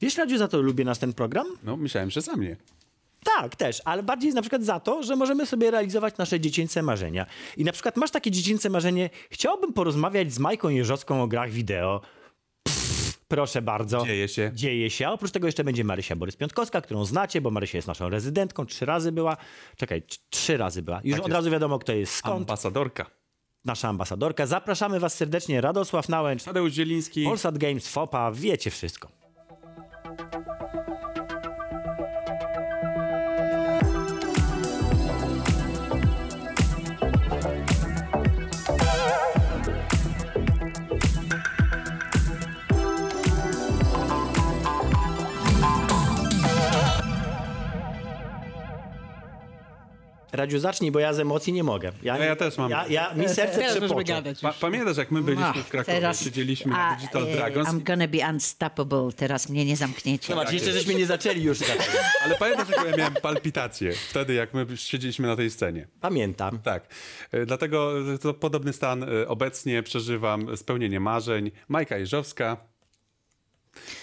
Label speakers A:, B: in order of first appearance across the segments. A: Wiesz, Radziu, za to lubię nas ten program?
B: No, myślałem, że za mnie.
A: Tak, też, ale bardziej na przykład za to, że możemy sobie realizować nasze dziecięce marzenia. I na przykład masz takie dziecięce marzenie, chciałbym porozmawiać z Majką Jeżowską o grach wideo. Pff, proszę bardzo.
B: Dzieje się.
A: Dzieje się. A oprócz tego jeszcze będzie Marysia Borys-Piątkowska, którą znacie, bo Marysia jest naszą rezydentką. Trzy razy była. Czekaj, tr- trzy razy była. Już
B: Tak
A: od
B: jest.
A: razu wiadomo, kto jest skąd.
B: Ambasadorka.
A: Nasza ambasadorka. Zapraszamy was serdecznie. Radosław Nałęcz,
B: Tadeusz Zieliński.
A: Polsat Games, FOPA. Wiecie wszystko. Radziu, zacznij, bo ja z emocji nie mogę.
B: No ja też mam.
A: Ja, ja, mi serce
C: Teraz możemy
A: trzepocze.
C: gadać.
B: Pa-
C: już.
B: pamiętasz, jak my E, byliśmy w Krakowie,
C: teraz-
B: siedzieliśmy na Digital
D: e,
B: Dragons,
D: I'm gonna be unstoppable, teraz mnie nie zamkniecie.
A: Zobacz, jeszcze żeśmy nie zaczęli już.
B: ale pamiętasz, jak ja miałem palpitację wtedy, jak my siedzieliśmy na tej scenie.
A: Pamiętam.
B: Tak. E, Dlatego to podobny stan e, obecnie przeżywam. Spełnienie marzeń. Majka Jeżowska,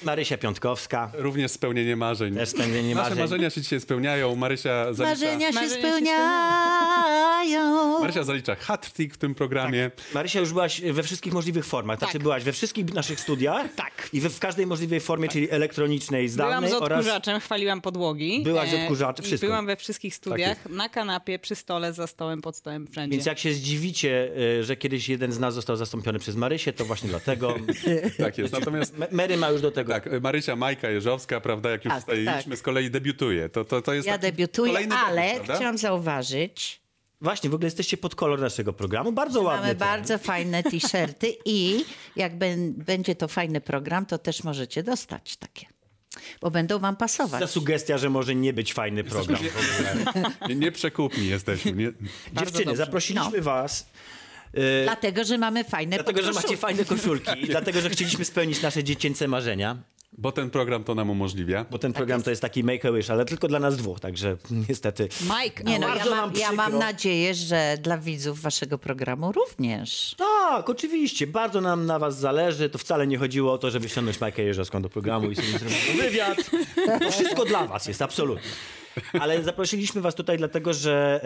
A: Marysia Piątkowska.
B: również spełnienie marzeń.
A: Też spełnienie
B: Nasze
A: marzeń.
B: marzenia się dzisiaj spełniają. Marysia zalicza,
D: Marzenia się
C: Marzenia się
D: spełniają.
B: Marysia zalicza hat-trick w tym programie.
A: Marysia, już byłaś we wszystkich możliwych formach. Znaczy,
C: Tak.
A: byłaś we wszystkich naszych studiach.
C: Tak.
A: I we, w każdej możliwej formie, czyli elektronicznej,
C: Byłam
A: zdalnej
C: z
A: oraz...
C: odkurzaczem, chwaliłam podłogi.
A: Byłaś z
C: E,
A: odkurzaczem,
C: i
A: wszystko. Tak
C: Byłam we wszystkich studiach, na kanapie, przy stole, za stołem, pod stołem, wszędzie.
A: Więc jak się zdziwicie, y, że kiedyś jeden z nas został zastąpiony przez Marysię, to właśnie dlatego.
B: Tak jest. Natomiast
A: M- Mary ma już do tego.
B: tak, Marysia Majka Jeżowska, prawda, jak już
D: Tak,
B: ustaliliśmy,
D: tak.
B: z kolei debiutuje. To, to, to jest
D: Ja
B: taki
D: debiutuję,
B: kolejny debiut,
D: ale
B: prawda?
D: chciałam zauważyć,
A: Właśnie, w ogóle jesteście pod kolor naszego programu. Bardzo ładny.
D: mamy
A: ten.
D: bardzo fajne t-shirty i jak ben, będzie to fajny program, to też możecie dostać takie, bo będą wam pasować.
A: Ta sugestia, że może nie być fajny program.
B: Nie, nie przekupni jesteśmy. Nie,
A: Dziewczyny,
C: dobrze.
A: zaprosiliśmy was.
D: E, Dlatego, że mamy fajne
A: Dlatego, że
D: podkoszulki.
A: macie fajne koszulki i dlatego, że chcieliśmy spełnić nasze dziecięce marzenia.
B: bo ten program to nam umożliwia.
A: Bo
D: Tak
A: ten program to jest taki make-a-wish, ale tylko dla nas dwóch, także niestety.
C: Mike,
D: Nie no, ja
A: Bardzo
D: mam,
A: nam
D: ja
A: przykro.
D: mam nadzieję, że dla widzów waszego programu również.
A: Tak, oczywiście, bardzo nam na was zależy. To wcale nie chodziło o to, żeby ściągnąć Majkę Jeżowską do programu i sobie zrobić wywiad. To wszystko dla was jest, absolutnie. Ale zaprosiliśmy was tutaj dlatego, że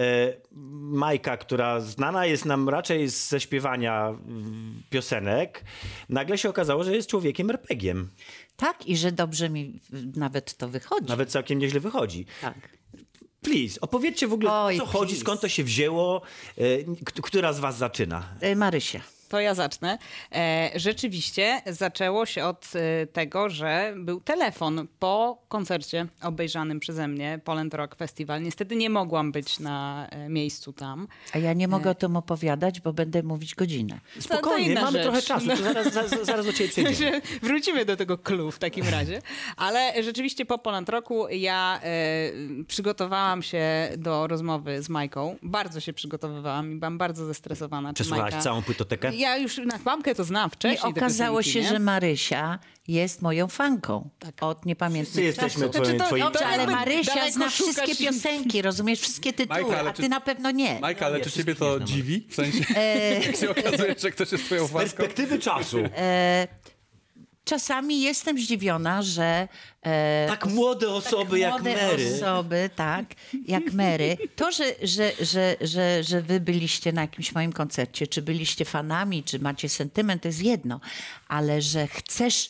A: e, Majka, która znana jest nam raczej ze śpiewania mm, piosenek, nagle się okazało, że jest człowiekiem RPG-iem.
D: Tak, i że dobrze mi w- nawet to wychodzi.
A: Nawet całkiem nieźle wychodzi.
D: Tak.
A: Please, opowiedzcie w ogóle,
D: Oj,
A: co chodzi,
D: please.
A: skąd to się wzięło, e, k- która z was zaczyna?
D: E, Marysia.
C: To ja zacznę. E, Rzeczywiście zaczęło się od e, tego, że był telefon po koncercie obejrzanym przeze mnie, Poland Rock Festival. Niestety nie mogłam być na e, miejscu tam.
D: A ja nie mogę o tym opowiadać, bo będę mówić godzinę.
C: to
A: Spokojnie,
C: inna
A: mamy
C: rzecz.
A: trochę czasu, to zaraz, zaraz, zaraz do ciebie przejdziemy.
C: Że Wrócimy do tego clue w takim razie. Ale rzeczywiście po Poland Roku ja e, przygotowałam się do rozmowy z Majką. Bardzo się przygotowywałam i byłam bardzo zestresowana. Czy
A: Przesłuchałaś
C: Majka-
A: całą płytotekę?
C: Ja już na kłamkę to znam
D: I
C: wcześniej. te
D: okazało
C: piosenki,
D: się,
C: nie?
D: że Marysia jest moją fanką. Od
A: Wszyscy
D: niepamiętnych
A: jesteśmy
D: czasów.
A: twoimi-
C: Znaczy, to-
A: twoimi
C: dobrze,
D: Ale
C: Daleko-
D: Marysia
C: daleko
D: zna
C: szukasz
D: wszystkie
C: i-
D: piosenki, rozumiesz, wszystkie tytuły,
B: Majka, ale
D: a
B: czy-
D: ty na pewno nie.
B: Majka, ale
A: Ja
B: czy
A: wszystkich
B: ciebie
A: nie
B: to
A: znam.
B: dziwi? W sensie,
D: E,
B: jak się okazuje, że ktoś jest twoją fanką?
A: Perspektywy czasu.
D: Czasami jestem zdziwiona, że e,
A: tak młode osoby jak
D: młode
A: Mary.
D: osoby, tak, jak Mary. To, że, że, że, że, że wy byliście na jakimś moim koncercie, czy byliście fanami, czy macie sentyment, to jest jedno, ale że chcesz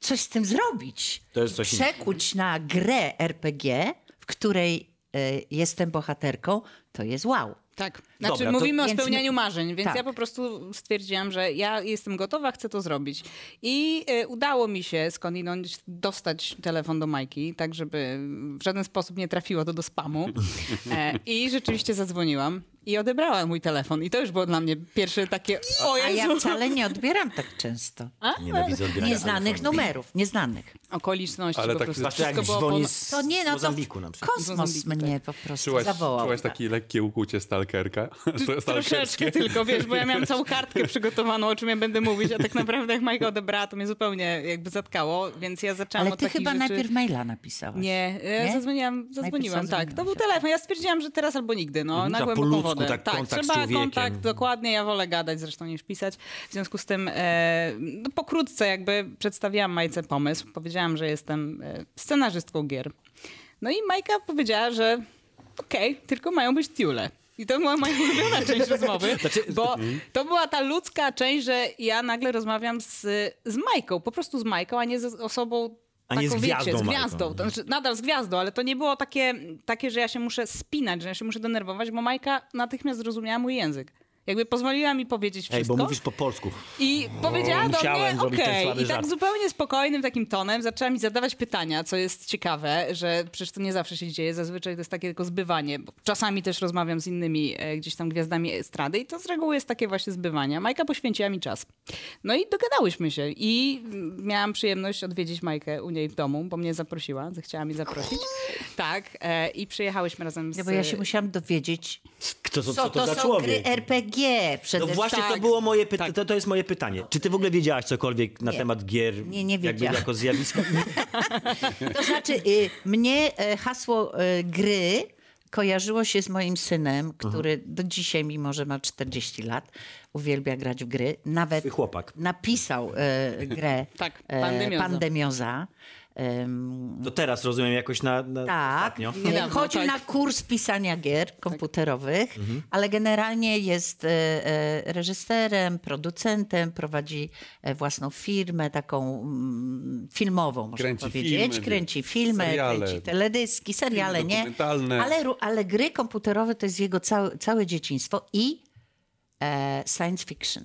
D: coś z tym zrobić,
A: To jest coś innego.
D: przekuć na grę RPG, w której e, jestem bohaterką, to jest wow.
C: Tak. Znaczy,
A: Dobra, to-
C: mówimy o
D: Więc my-
C: spełnianiu marzeń, więc
D: Tak.
C: ja po prostu stwierdziłam, że ja jestem gotowa, chcę to zrobić. I y, udało mi się skądinąć dostać telefon do Majki, tak żeby w żaden sposób nie trafiło to do spamu. E, I rzeczywiście zadzwoniłam i odebrałam mój telefon. I to już było dla mnie pierwsze takie, o
D: A
C: Jezu.
D: ja wcale nie odbieram tak często.
A: Nienawidzę odbierania
D: Nieznanych no
A: telefonów.
D: numerów, nieznanych.
C: Okoliczności
B: Ale
C: po
B: tak-
C: prostu.
A: Zwłaszcza jak
C: Wszystko było
A: dzwoni
C: po-
A: z
D: To nie, no to
A: Mozambiku na przykład. tak
D: kosmos
C: Mozambik, tak.
D: mnie po prostu
B: Czułaś,
D: zawołał.
B: czułaś takie lekkie ukłucie stalkerka?
C: Troszeczkę tylko, wiesz, bo ja miałam całą kartkę przygotowaną, o czym ja będę mówić, a tak naprawdę jak Majka odebrała, to mnie zupełnie jakby zatkało, więc ja zaczęłam
D: Ale
C: od
D: ty
C: takich
D: chyba
C: rzeczy...
D: najpierw maila napisałaś.
C: Nie, ja
D: Nie? e,
C: zadzwoniłam,
D: Najpierw
A: No
C: zadzwoniłam tak. To
D: zadzwoniłaś,
C: był
D: okej.
C: telefon. Ja stwierdziłam, że teraz albo nigdy, no, na
A: Ta
C: głęboką
A: po ludzku
C: zgodę.
A: kontakt-
C: tak,
A: kontakt z
C: trzeba
A: człowiekiem.
C: kontakt, dokładnie. Ja wolę gadać zresztą niż pisać. W związku z tym e, no, pokrótce jakby przedstawiłam Majce pomysł. Powiedziałam, że jestem e, scenarzystką gier. No i Majka powiedziała, że okej, tylko mają być tiule. I to była moja ulubiona część rozmowy,
A: Znaczy,
C: bo
A: mhm.
C: to była ta ludzka część, że ja nagle rozmawiam z, z Majką, po prostu z Majką, a nie z osobą
A: A nie z
C: taką,
A: gwiazdą
C: wiecie, z
A: Majką.
C: gwiazdą. To znaczy, nadal z gwiazdą, ale to nie było takie, takie, że ja się muszę spinać, że ja się muszę denerwować, bo Majka natychmiast zrozumiała mój język. Jakby pozwoliła mi powiedzieć
A: Ej,
C: wszystko
A: bo mówisz po polsku.
C: i powiedziała do
A: musiałem
C: mnie,
A: zrobić ten
C: okej.
A: słaby
C: I tak
A: żart.
C: zupełnie spokojnym takim tonem zaczęła mi zadawać pytania, co jest ciekawe, że przecież to nie zawsze się dzieje, zazwyczaj to jest takie tylko zbywanie. Bo czasami też rozmawiam z innymi e, gdzieś tam gwiazdami estrady i to z reguły jest takie właśnie zbywanie. Majka poświęciła mi czas. No i dogadałyśmy się i mm, miałam przyjemność odwiedzić Majkę u niej w domu, bo mnie zaprosiła, zechciała mi zaprosić. Tak, e, i przyjechałyśmy razem z...
D: No bo ja się musiałam dowiedzieć,
A: Kto, co,
D: co,
A: co to,
D: to
A: za
D: są
A: człowiek?
D: gry RPG przede
A: No właśnie to
C: tak.
A: było moje pytanie.
C: Tak.
A: To, to jest moje pytanie. Czy ty w ogóle wiedziałaś cokolwiek na
D: Nie.
A: temat gier?
D: Nie, nie
A: jakby
D: wiedziałam.
A: jako zjawisko?
D: To znaczy, y, mnie e, hasło e, gry kojarzyło się z moim synem,
A: Mhm.
D: który do dzisiaj, mimo że ma 40 lat, uwielbia grać w gry. Nawet
A: Twój chłopak.
D: napisał e, grę
C: Tak,
D: e,
C: Pandemioza.
D: Pandemioza. Em,
A: To teraz rozumiem jakoś na, na
D: tak,
A: ostatnio.
D: E,
C: Niedawno,
D: chodził
C: tak.
D: na kurs pisania gier komputerowych,
B: Mhm.
D: ale generalnie jest e, e, reżyserem, producentem, prowadzi e, własną firmę taką mm, filmową, można
B: Kręci
D: powiedzieć.
B: filmy,
D: kręci filmy,
B: seriale.
D: kręci teledyski, seriale, nie?
B: dokumentalne.
D: Ale, ru- ale gry komputerowe to jest jego całe, całe dzieciństwo i e, science fiction.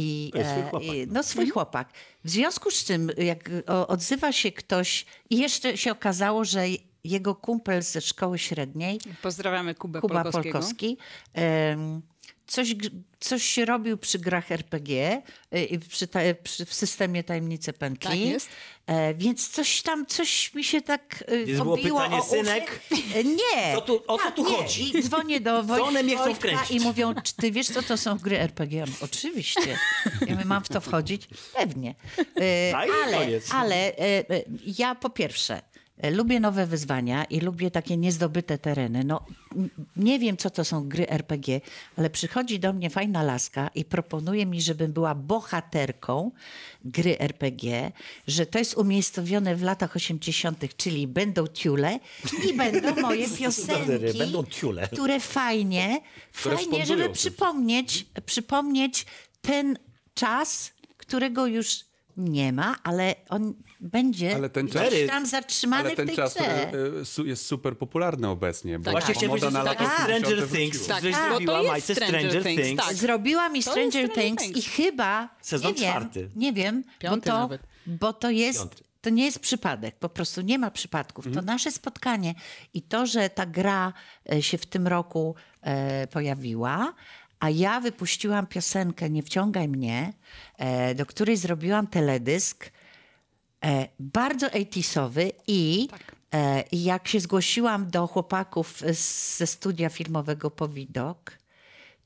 D: I,
A: To jest swój
D: e,
A: chłopak. Mhm.
D: i- no swój chłopak. W związku z czym, jak o, odzywa się ktoś, i jeszcze się okazało, że jego kumpel ze szkoły średniej,
C: Pozdrawiamy Kubę
D: Kuba
C: Polkowskiego.
D: Polkowski, em, coś, gr- coś robił przy grach RPG, y, i przy, ta, przy, w systemie tajemnicy pętli.
C: Tak jest.
D: E, więc coś tam, coś mi się tak y,
A: Więc było
D: obiło
A: pytanie,
D: o uszy.
A: synek?
D: E, Nie.
A: Co tu- o co
D: Tak,
A: tu
D: nie.
A: chodzi?
D: I dzwonię do Woj-
A: one mnie chcą
D: Wojtka
A: wkręcić?
D: i mówią, czy ty wiesz, co to są gry RPG? Ja mówię, Oczywiście. Ja mówię, mam w to wchodzić? Pewnie. E,
A: No i
D: ale,
A: koniec.
D: ale e, e, ja po pierwsze e, lubię nowe wyzwania i lubię takie niezdobyte tereny. No, n- nie wiem, co to są gry RPG, ale przychodzi do mnie fajna laska i proponuje mi, żebym była bohaterką gry RPG, że to jest umiejscowione w latach 80., czyli będą tiule i będą moje piosenki,
A: Będą tiule.
D: które fajnie, fajnie,
B: wspompują
D: żeby
B: coś.
D: przypomnieć, przypomnieć ten czas, którego już nie ma, ale on będzie
B: Ale ten
D: gdzieś
A: czas-
D: tam zatrzymany
B: Ale ten
D: w tej
B: czas e,
D: grze.
B: e, su- jest super popularny obecnie. Bo
A: Tak. Właśnie
B: Tak, bo
A: chciałem
B: moda
A: powiedzieć, że
B: na
A: takie
B: lata
A: Stranger
B: 80.
A: Things.
B: wróciła.
C: Tak,
A: żeś
C: bo to
A: zrobiła,
C: jest
A: Majce,
C: Stranger
A: Stranger
C: Things,
A: Things.
C: tak.
D: Zrobiła mi
C: To
D: Stranger,
C: jest Stranger
D: Things,
C: Things.
D: i chyba
A: Sezon
D: nie wiem,
A: czwarty.
D: nie wiem,
C: Piąty
D: bo to,
C: nawet.
D: bo to jest
A: Piąty. Mhm.
D: to nie jest przypadek, po prostu nie ma przypadków. To nasze spotkanie i to, że ta gra e, się w tym roku e, pojawiła, a ja wypuściłam piosenkę Nie wciągaj mnie, e, do której zrobiłam teledysk e, bardzo 80sowy i
A: Tak.
D: e, i jak się zgłosiłam do chłopaków z, ze studia filmowego Powidok,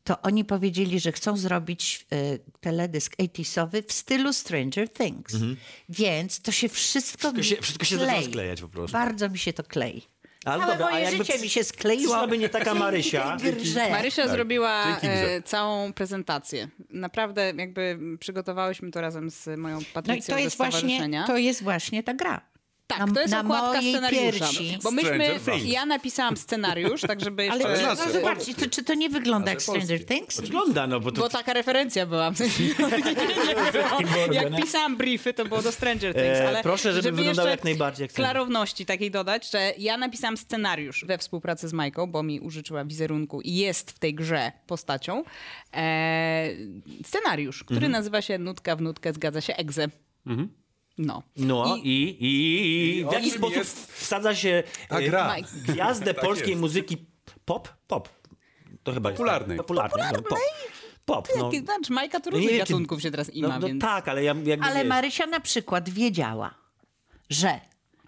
D: to oni powiedzieli, że chcą zrobić e, teledysk 80sowy w stylu Stranger Things. Więc to się wszystko
A: Mhm. Wszystko
D: mi
A: się- wszystko się zaczyna
D: klei.
A: sklejać po prostu.
D: Bardzo mi się to klei.
A: Ale
D: Ale Całe
A: dobra, a
D: moje
A: jakby
D: życie
A: przy-
D: mi się skleiło.
A: przyszłaby nie taka
D: dzięki
A: Marysia,
D: tej grze.
C: Marysia zrobiła
B: Tak. Dzięki grze.
C: e, całą prezentację. Naprawdę jakby przygotowałyśmy to razem z moją
D: No i
C: Patrycją
D: to
C: ze
D: jest, właśnie,
C: stowarzyszenia.
D: to jest właśnie ta gra.
C: Tak,
D: na,
C: to jest
D: na
C: okładka
D: mojej
C: scenariusza.
D: piersi.
C: Bo myśmy,
B: Stranger Things.
C: ja napisałam scenariusz, tak żeby jeszcze...
D: Ale
B: jest
D: no,
B: nasze.
D: zobaczcie, to, czy to nie wygląda jak
A: Znaczy,
B: Nasze
D: Stranger
B: polskie.
D: Things?
A: Wygląda, no bo to...
C: Bo taka referencja była. Nie, nie, jak pisałam briefy, to było do Stranger Things,
A: E,
C: ale
A: proszę, żeby wyglądało
C: jeszcze
A: jak najbardziej jak
C: klarowności takiej dodać, że ja napisałam scenariusz we współpracy z Majką, bo mi użyczyła wizerunku i jest w tej grze postacią. E, scenariusz, który
A: Mhm.
C: nazywa się Nutka w nutkę zgadza się egze. No.
A: No i, i, i,
B: i
A: w
B: o
A: jaki
B: czym
A: sposób
B: jest
A: wsadza się
B: ta
A: e,
B: gra?
C: Mike.
A: gwiazdę
B: Tak
A: polskiej
B: jest.
A: muzyki pop? Pop. To chyba jest- tak.
B: Popularnej.
A: Popularnej. no, Pop. Pop, no.
C: Ty, znaczy, Majka to
A: No nie
C: różnych
A: wiem, czy-
C: gatunków się teraz ima,
A: No, no
C: więc...
A: tak, ale ja jakby
D: Ale
A: wiesz,
D: Marysia na przykład wiedziała, że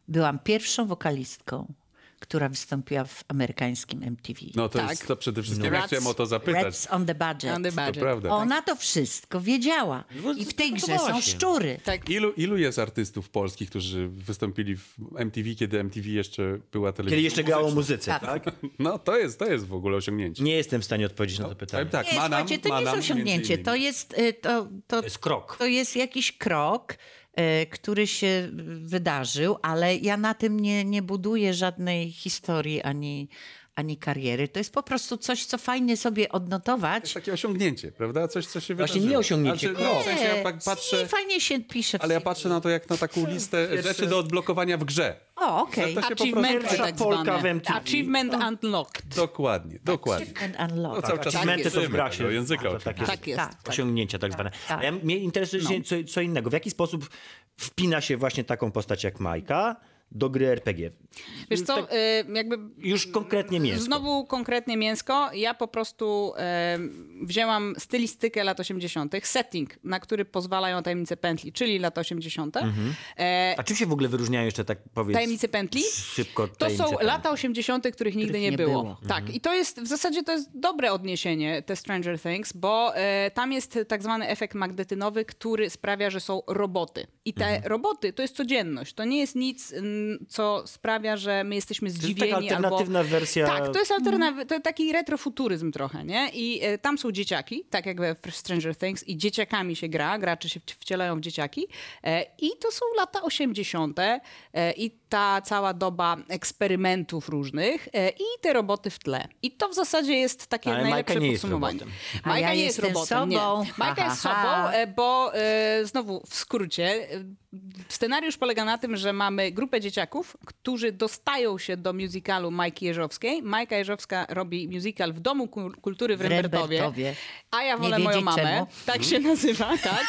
D: byłam pierwszą wokalistką, która wystąpiła w amerykańskim MTV.
B: No to
C: Tak.
B: jest to przede wszystkim,
C: No.
B: ja chciałem o to zapytać.
D: Rats on the budget.
C: On the
B: To
C: budget.
B: prawda.
D: Ona to wszystko wiedziała.
A: No,
D: I w tej
A: no to
D: grze są
A: właśnie.
D: szczury.
C: Tak.
B: Ilu, ilu jest artystów polskich, którzy wystąpili w MTV, kiedy MTV jeszcze była telewizją?
A: Kiedy jeszcze grało o muzyce,
D: Tak.
A: tak?
B: No to jest, to jest w ogóle osiągnięcie.
A: Nie jestem w stanie odpowiedzieć na to pytanie.
B: Powiem tak,
D: Nie,
B: manam,
D: słuchajcie, to nie
B: manam,
D: jest osiągnięcie.
B: między
D: To
B: innymi.
D: jest, y, to, to,
A: To jest krok.
D: to jest jakiś krok, e, który się wydarzył, ale ja na tym nie, nie buduję żadnej historii ani, ani kariery. To jest po prostu coś, co fajnie sobie
B: To jest
D: odnotować.
B: takie osiągnięcie, prawda? Coś, co się
A: Właśnie
B: wydarzyło.
A: nie osiągnięcie,
B: Znaczy, no, w sensie ja tak
D: Nie,
B: patrzę,
D: nie, fajnie się pisze. w
B: ale ja
D: CV.
B: patrzę na to jak na taką listę rzeczy do odblokowania w grze.
D: O, okej.
B: Że to się po
C: Achievementy
B: prostu-
C: tak
A: Polka w
C: zwane.
A: MTV.
C: Achievement unlocked.
A: Tak.
B: Dokładnie, dokładnie.
D: And unlock.
B: No, cały czas
A: Achievementy to w
B: uczymy
A: grasie.
B: tego języka.
A: To tak
C: Tak jest.
D: Tak.
A: Osiągnięcia tak zwane.
D: tak.
A: A Ja, mnie interesuje
C: No.
A: się co, co innego. W jaki sposób wpina się właśnie taką postać jak Majka do gry RPG?
C: Wiesz co,
A: Tak
C: y, jakby
A: już konkretnie mięsko.
C: Znowu konkretnie mięsko. Ja po prostu e, wzięłam stylistykę lat 80., setting, na który pozwalają tajemnice pętli, czyli lata 80.
A: Mhm.
C: E,
A: A czym się w ogóle wyróżniają jeszcze tak powiedz?
C: Tajemnice pętli?
A: Szybko
C: To
A: tajemnice
C: są
A: pętli. Mhm.
C: lata 80., których nigdy
D: Których
C: nie,
D: nie
C: było.
D: było.
C: Tak, i to jest w zasadzie to jest dobre odniesienie te Stranger Things, bo e, tam jest tak zwany efekt magnetynowy, który sprawia, że są roboty. I te
A: Mhm.
C: roboty to jest codzienność. To nie jest nic, mm, co sprawia, że my jesteśmy
A: To jest
C: zdziwieni.
A: taka alternatywna
C: albo...
A: wersja.
C: Tak, to jest
A: No.
C: alternatyw, to taki retrofuturyzm trochę, nie? I e, tam są dzieciaki, tak jak we w Stranger Things, i dzieciakami się gra, gracze się wci- wcielają w dzieciaki. E, I to są lata 80. E, i ta cała doba eksperymentów różnych e, i te roboty w tle. I to w zasadzie jest takie
A: Ale Majka
C: najlepsze
A: nie jest
C: podsumowanie.
A: robotem.
D: A
C: Majka
D: ja
C: nie jest
D: jestem
C: robotem,
D: sobą.
C: nie. Majka
D: Ha,
C: jest
D: ha,
C: sobą,
D: ha.
C: e, bo e, znowu w skrócie e, scenariusz polega na tym, że mamy grupę dzieciaków, którzy dostają się do musicalu Majki Jeżowskiej. Majka Jeżowska robi musical w Domu Kul- Kultury w
D: W
C: Rembertowie.
D: Rembertowie.
C: A ja
D: Nie
C: wolę moją
D: wiedzieć
C: mamę.
D: czemu.
C: Tak się nazywa, tak.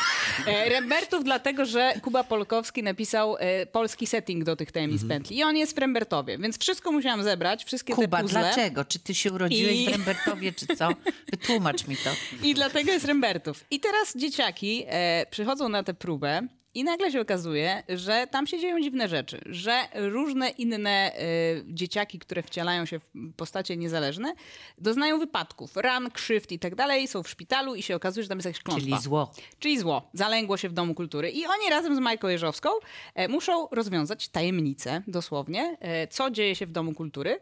C: E, Rembertów dlatego, że Kuba Polkowski napisał e, polski setting do tych tajemnic
D: Mhm.
C: pętli. I on jest w Rembertowie, więc wszystko musiałam zebrać, wszystkie te
D: Kuba,
C: puzzle.
D: dlaczego? Czy ty się urodziłeś
C: I-
D: w Rembertowie, czy co? Wytłumacz mi to.
C: I dlatego jest Rembertów. I teraz dzieciaki e, przychodzą na tę próbę i nagle się okazuje, że tam się dzieją dziwne rzeczy, że różne inne e, dzieciaki, które wcielają się w postacie niezależne, doznają wypadków, ran, krzywd i tak dalej, są w szpitalu i się okazuje, że tam jest jakaś klątwa.
D: Czyli zło.
C: Czyli zło. Zalęgło się w Domu Kultury. I oni razem z Majką Jeżowską e, muszą rozwiązać tajemnicę, dosłownie, e, co dzieje się w Domu Kultury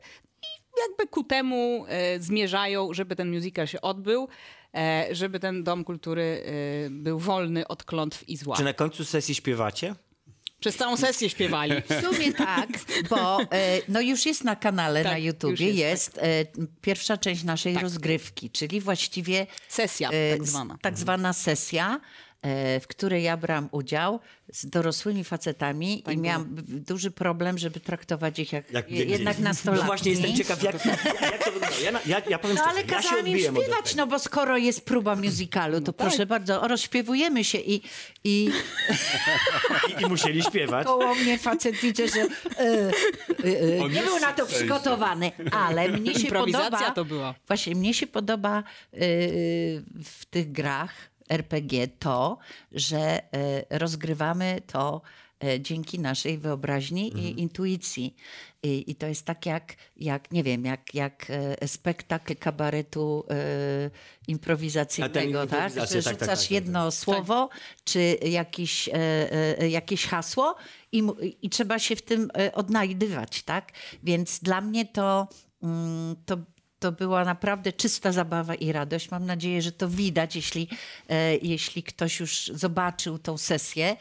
C: jakby ku temu e, zmierzają, żeby ten musical się odbył, e, żeby ten dom kultury e, był wolny od klątw i zła.
A: Czy na końcu sesji śpiewacie?
C: Przez całą sesję śpiewali.
D: W sumie tak, bo e, no już jest na kanale
C: Tak,
D: na
C: już
D: YouTubie,
C: jest, tak.
D: jest, e, pierwsza część naszej rozgrywki, czyli właściwie
C: Sesja
D: e,
C: tak
D: s-
C: zwana.
D: tak zwana sesja, e, w której ja brałam udział z dorosłymi facetami i miałam b- duży problem, żeby traktować ich jak,
A: Jak
D: je- jednak
A: No
D: nastolatki.
A: właśnie jestem ciekaw, jak, jak to wygląda. Ja, na- ja, ja powiem
D: No
A: szczerze,
D: ale
A: ja się
D: kazałam im
A: odbiłem od
D: śpiewać, no bo skoro jest próba musicalu,
C: No
D: to
C: tak.
D: proszę bardzo, o, rozśpiewujemy się i, i
A: tego. I, I musieli śpiewać.
D: koło mnie facet widzę, że e, e, e,
B: On
D: nie
B: jest
D: był na to
B: w sensie.
D: przygotowany, ale mnie się
C: Improwizacja
D: podoba...
C: to była.
D: Właśnie, mnie się podoba e, w tych grach RPG to, że e, rozgrywamy to e, dzięki naszej wyobraźni
B: Mhm.
D: i intuicji. I, I to jest tak jak, jak nie wiem, jak, jak e, spektakl kabaretu e, improwizacyjnego, tak? Że
A: improwizacja,
D: rzucasz
A: tak, tak, tak, tak.
D: jedno słowo czy jakiś, e, e, jakieś hasło i, mu- i trzeba się w tym e, odnajdywać, tak? Więc dla mnie to, mm, to, to była naprawdę czysta zabawa i radość. Mam nadzieję, że to widać, jeśli, e, jeśli ktoś już zobaczył tą sesję,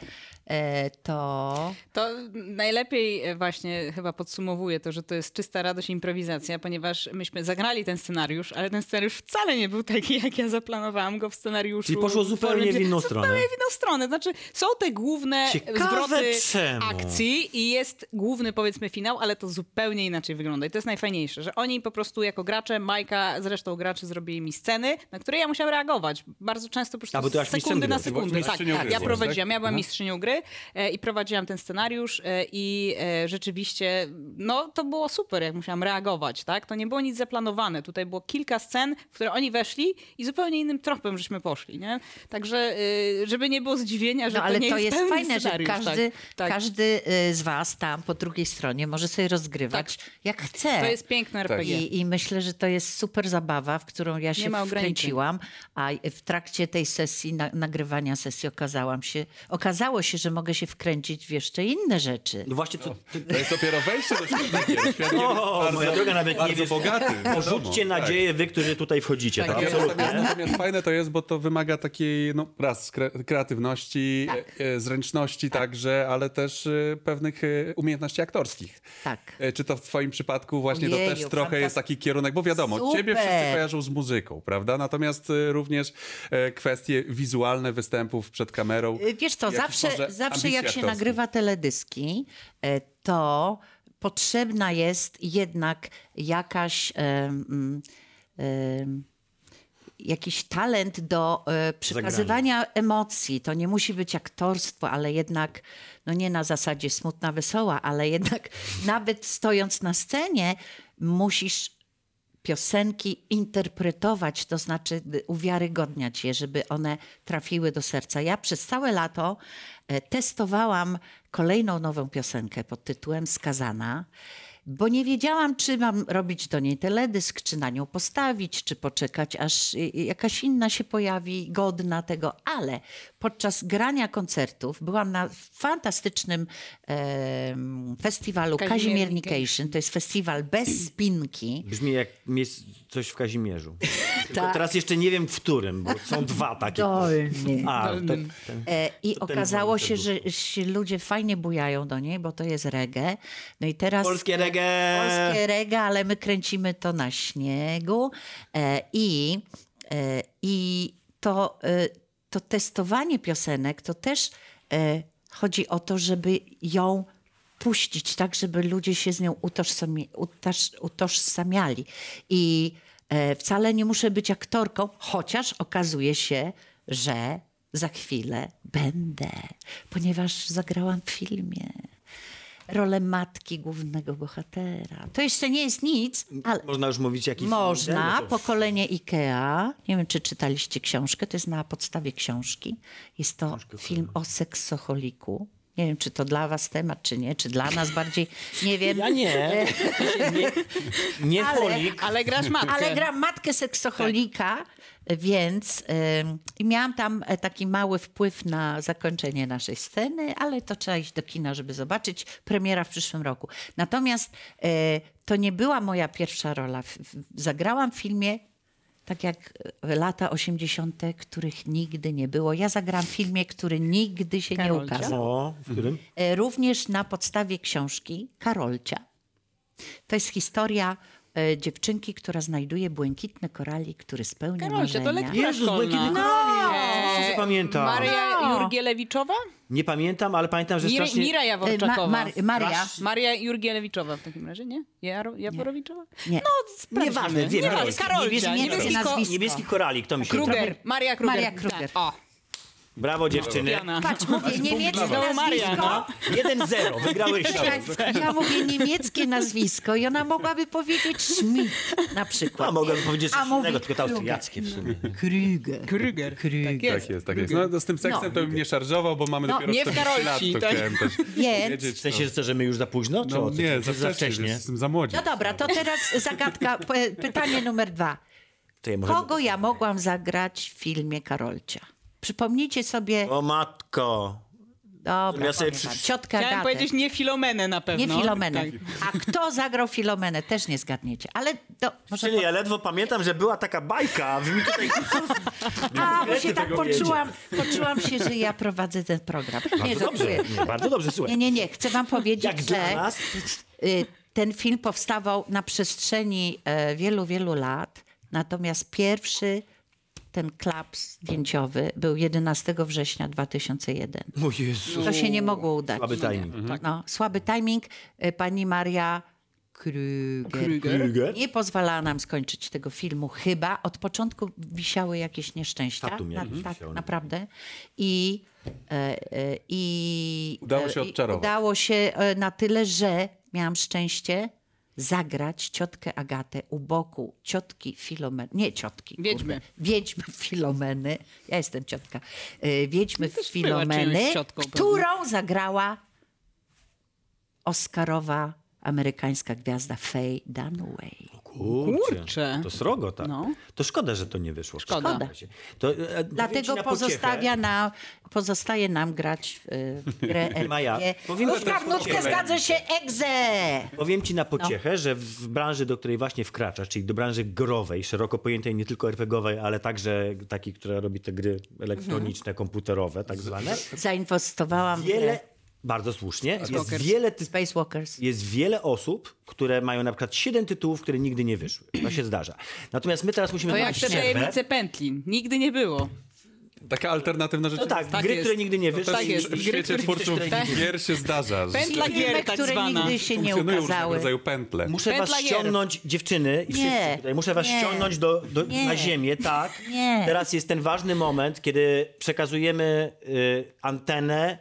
D: e, to...
C: To najlepiej e, właśnie chyba podsumowuje to, że to jest czysta radość i improwizacja, ponieważ myśmy zagrali ten scenariusz, ale ten scenariusz wcale nie był taki, jak ja zaplanowałam go w scenariuszu.
A: Czyli poszło
C: w
A: zupełnie
C: formie-
A: w inną stronę.
C: Zupełnie w inną stronę. Znaczy są te główne
A: Ciekawe
C: zwroty
A: czemu.
C: akcji i jest główny powiedzmy finał, ale to zupełnie inaczej wygląda. I to jest najfajniejsze, że oni po prostu jako gracze, Majka zresztą graczy zrobili mi sceny, na które ja musiałam reagować. Bardzo często po
A: A, bo
C: prostu
A: ty
C: z
A: byłaś mistrzem
C: sekundy na
A: gry.
C: sekundę.
B: Byłaś
C: Tak,
B: mistrzynią
C: tak,
B: gry
C: ja
B: byłaś,
C: prowadziłam,
B: tak?
C: ja byłam
B: No.
C: mistrzynią gry, Mary e, i prowadziłam ten scenariusz e, i e, rzeczywiście, no to było super, jak musiałam reagować, tak? To nie było nic zaplanowane. Tutaj było kilka scen, w które oni weszli i zupełnie innym tropem żeśmy poszli, nie? Także, e, żeby nie było zdziwienia, że
D: No ale
C: nie
D: to jest
C: pełny
D: fajne, że
C: scenariusz,
D: każdy,
C: tak, tak.
D: każdy y, z was tam po drugiej stronie może sobie rozgrywać jak chce.
C: Tak. To jest piękne RPG.
D: I, I myślę, że to jest super zabawa, w którą ja się
C: ma ograniczeń.
D: wkręciłam, a w trakcie tej sesji, na, nagrywania sesji okazałam się, okazało się, że mogę się wkręcić w jeszcze inne rzeczy.
A: No właśnie, to, to,
B: To jest dopiero wejście do świata gier. Świat gier jest
A: O, moja droga, nawet nie
B: bardzo
A: wiesz.
B: bogaty. wiadomo,
A: porzućcie
B: tak.
A: nadzieję, wy, którzy tutaj wchodzicie. Tak,
B: Tak,
A: absolutnie.
B: Natomiast, natomiast fajne to jest, bo to wymaga takiej, no raz, kre- kreatywności,
D: Tak.
B: e, e, zręczności także, ale też e, pewnych e, umiejętności aktorskich.
D: Tak.
B: E, Czy to w twoim przypadku właśnie
D: Ojeju,
B: to też trochę
D: fantast-
B: jest taki kierunek, bo wiadomo,
D: Super.
B: ciebie wszyscy kojarzą z muzyką, prawda? Natomiast e, również e, kwestie wizualne występów przed kamerą.
D: Y, Wiesz co,
B: Jakiś
D: zawsze,
B: może
D: zawsze
B: ambicji
D: jak się
B: aktorskiej.
D: nagrywa teledyski, e, to potrzebna jest jednak jakaś. em, mm, em, Jakiś talent do e, przekazywania emocji. To nie musi być aktorstwo, ale jednak, no nie na zasadzie smutna, wesoła, ale jednak nawet stojąc na scenie, musisz piosenki interpretować, to znaczy y, uwiarygodniać je, żeby one trafiły do serca. Ja przez całe lato e, testowałam kolejną nową piosenkę pod tytułem Skazana, bo nie wiedziałam, czy mam robić do niej teledysk, czy na nią postawić, czy poczekać, aż y, y, jakaś inna się pojawi, godna tego, ale podczas grania koncertów byłam na fantastycznym em, festiwalu
C: Kazimiernikiem.
D: Kazimiernication, to jest festiwal bez spinki.
A: Brzmi jak miejsc- coś w Kazimierzu. Tylko
D: Tak.
A: Teraz jeszcze nie wiem w którym, bo są dwa takie.
D: Dolny.
A: A, to,
C: Dolnym.
A: ten-
D: E, I
A: To ten
D: okazało
A: wątek
D: się, że się ludzie fajnie bujają do niej, bo to jest reggae. No i teraz...
A: Polskie reggae!
D: Polskie reggae, ale my kręcimy to na śniegu. E, I, e, i to, e, to testowanie piosenek to też e, chodzi o to, żeby ją puścić tak, żeby ludzie się z nią utożsami, utoż, utożsamiali. I e, wcale nie muszę być aktorką, chociaż okazuje się, że za chwilę będę, ponieważ zagrałam w filmie rolę matki głównego bohatera. To jeszcze nie jest nic, ale
A: Można już mówić jakiś...
D: można.
A: No to-
D: Pokolenie IKEA. Nie wiem, czy czytaliście książkę. To jest na podstawie książki. Jest to film o seksoholiku. Nie wiem, czy to dla was temat, czy nie, czy dla nas bardziej. Nie wiem.
A: Ja nie. nie. Nie
D: E. Ale-
A: holik.
C: Ale grasz matkę.
D: Ale gram matkę seksoholika, więc ym, i miałam tam e, taki mały wpływ na zakończenie naszej sceny, ale to trzeba iść do kina, żeby zobaczyć. Premiera w przyszłym roku. Natomiast e, to nie była moja pierwsza rola. F- f- Zagrałam w filmie tak jak e, lata 80., których nigdy nie było. Ja zagrałam w filmie, który nigdy się nie
C: Karolcia?
D: ukazał.
A: O, w którym?
D: E, również na podstawie książki Karolcia. To jest historia e, dziewczynki, która znajduje błękitny koralik, który spełnia
C: Karolcie, to
D: marzenia.
C: lektura
A: Jezus,
C: szkolna.
A: błękitny koralik. Jezus, nie pamiętam.
C: Maria
D: No.
C: Jurgielewiczowa?
A: Nie pamiętam, ale pamiętam, że
C: Mir,
A: strasznie...
C: Mira
D: E,
C: Jaworczakowa.
D: Ma- Mar- Maria.
C: Maria Jurgielewiczowa w takim razie, nie? Jaro, Jaworowiczowa?
D: Nie.
C: sprawdzimy.
A: Nieważne, wiem.
C: Nieważne,
A: Niebieski-
C: Karolcia,
D: niebieski-
C: niebieski
D: niebieski-
C: ko-
D: nazwisko.
A: Niebieski koralik, to mi się
C: Kruger,
A: trafi.
C: Maria Kruger.
D: Maria Kruger. Tak,
C: Tak, o,
A: Brawo dziewczyny.
C: Piana.
D: Patrz, Znaczy, mówię niemieckie
C: Znowu Maria,
D: nazwisko.
C: no.
A: 1-0, wygrałyście.
D: Tak, ja mówię niemieckie nazwisko i ona mogłaby powiedzieć Schmidt na przykład.
A: A No, mogę powiedzieć
D: A
A: coś
D: mówi
A: innego, tylko to
D: Kruger. No.
A: austriackie w sumie.
D: Krüger.
C: Kruger. Tak jest.
B: Tak jest, tak jest. No, z tym seksem
D: No.
B: to bym nie szarżował, bo mamy
D: No,
B: dopiero
C: nie w
B: 40 lat,
C: Karolci,
B: to
C: tak.
B: chciałem też
D: Więc-
A: W
B: wiedzieć.
A: sensie, że co, że my już za późno? Czy
B: No,
A: o co?
B: nie,
A: Czy
B: za wcześnie, że jestem za młodzi.
D: No dobra, to teraz zagadka, p- pytanie numer dwa.
A: To ja może...
D: Kogo ja mogłam zagrać w filmie Karolcia? Przypomnijcie sobie...
A: O matko.
D: Dobra,
A: Ja sobie
D: powiem wam.
A: przy-
D: ciotka
C: Chciałem
D: Agatę.
C: powiedzieć nie Filomenę na pewno.
D: Tak, Nie Filomenę.
C: Tak.
D: A kto zagrał Filomenę, też nie zgadniecie. Ale do, może
A: Czyli ja ledwo pamiętam, że była taka bajka. Wy mi tutaj...
D: A, bo się tak
A: tego wiecie.
D: poczułam, poczułam się, że ja prowadzę ten program. Nie,
A: Bardzo dobrze,
D: żartuję.
A: nie, bardzo dobrze, słuchaj.
D: Nie, nie, nie. Chcę wam powiedzieć,
A: Jak
D: że
A: dla nas...
D: y, ten film powstawał na przestrzeni e, wielu, wielu lat. Natomiast pierwszy ten klaps zdjęciowy był 11 września 2001.
A: Mój Jezu.
C: Tak.
D: To się nie mogło udać.
C: Mhm.
A: Słaby timing.
D: No, słaby timing. E, Pani y, Maria Krüger.
A: Krüger?
D: Nie pozwalała nam skończyć tego filmu, chyba. Od początku wisiały jakieś nieszczęścia.
A: Fatum jakieś
D: tak,
A: wisiało.
D: naprawdę. I, e, e, i
B: Udało się
D: e, i
B: odczarować.
D: Udało się e, na tyle, że miałam szczęście zagrać ciotkę Agatę u boku ciotki Filomeny. Nie ciotki. kurde.
C: Wiedźmy.
D: Wiedźmy Filomeny. Ja jestem ciotka. E, Wiedźmy
C: też była
D: Filomeny,
C: czyjąś ciotką pewnie.
D: którą zagrała Oscarowa amerykańska gwiazda Faye Dunaway.
A: Kurczę.
C: Kurczę.
A: To srogo tak.
C: No.
A: To szkoda, że to nie wyszło.
C: Szkoda.
A: W każdym razie. To, e, powiem ci
D: Dlatego
A: na
D: pozostawia na, pozostaje nam grać w, y, w grę
A: Maja,
D: RPG.
A: powinno
D: Nutka
A: teraz
D: w nutkę,
A: pociechę.
D: zgadza się, egze!
A: Powiem ci
C: No.
A: na pociechę, że w branży, do której właśnie wkraczasz, czyli do branży growej, szeroko pojętej, nie tylko RPGowej, ale także takiej, która robi te gry elektroniczne,
C: Mhm.
A: komputerowe tak zwane,
D: Zainwestowałam w grę
A: wiele, bardzo słusznie, jest
C: Skokers.
A: wiele, ty,
D: Space Walkers.
A: jest wiele osób, które mają na przykład 7 tytułów, które nigdy nie wyszły. To się zdarza. Natomiast my teraz musimy
C: To jak
A: znaleźć
C: te
A: przerwę.
C: tajemnice pętli. Nigdy nie było.
B: Taka alternatywna rzecz.
A: No tak,
C: Tak
A: gry,
C: jest.
A: które nigdy nie
C: To
A: wyszły.
C: tak jest.
B: W
C: Gry,
B: świecie
C: które
B: twórców
C: nigdy się-
B: gier się zdarza. że
C: Pętla
D: Filmy,
C: gier tak
D: które
C: zwana.
D: nigdy się nie
B: Funkcjonują różnego
D: ukazały.
B: rodzaju pętle.
A: Muszę was
C: Pętla gier.
A: ściągnąć, dziewczyny i
D: Nie,
A: wszyscy tutaj, muszę was
D: nie,
A: ściągnąć do, do,
D: nie,
A: na ziemię, tak?
D: nie.
A: Teraz jest ten ważny moment, kiedy przekazujemy y, antenę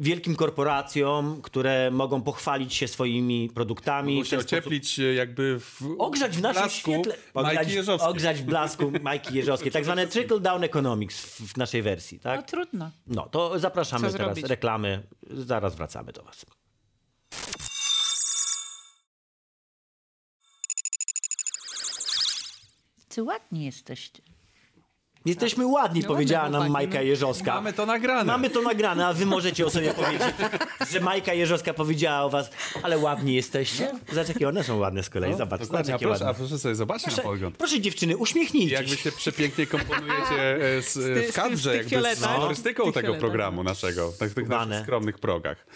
A: wielkim korporacjom, które mogą pochwalić się swoimi produktami.
B: Mogą
A: w
B: się
A: ten sposób
B: ocieplić e, jakby w
A: Ogrzać w naszym
B: blasku
A: świetle.
B: Majki Jeżowskiej.
A: ogrzać w blasku Majki Jeżowskiej. Tak zwane trickle-down economics w, w naszej wersji,
D: No
A: tak?
D: trudno.
A: No, to zapraszamy
C: Co
A: teraz,
C: zrobić?
A: reklamy. Zaraz wracamy do was.
D: Ty ładni jesteście.
A: Jesteśmy ładni,
C: No
A: powiedziała
C: ładne
A: nam
C: chłopaki,
A: Majka
C: no.
A: Jeżowska.
B: Mamy to nagrane.
A: Mamy to nagrane, a wy możecie o sobie powiedzieć, że Majka Jeżowska powiedziała o was, ale ładni jesteście. Zobacz, jakie one są ładne z kolei.
B: No,
A: Zobacz, zobacz
B: dokładnie, a
A: jakie
B: proszę,
A: ładne.
B: a proszę sobie zobaczyć na
A: Proszę,
B: pogląd.
A: proszę dziewczyny, uśmiechnijcie
B: Jak wy
A: się.
B: się przepięknie komponujecie e, z,
C: ty- z
B: w
C: tych-
B: kadrze,
C: z tych
B: jakby z
C: fioletach.
B: kolorystyką
C: Tych
B: tego
C: fioletach.
B: programu naszego, tak, tych
A: Kubane.
B: naszych skromnych progach.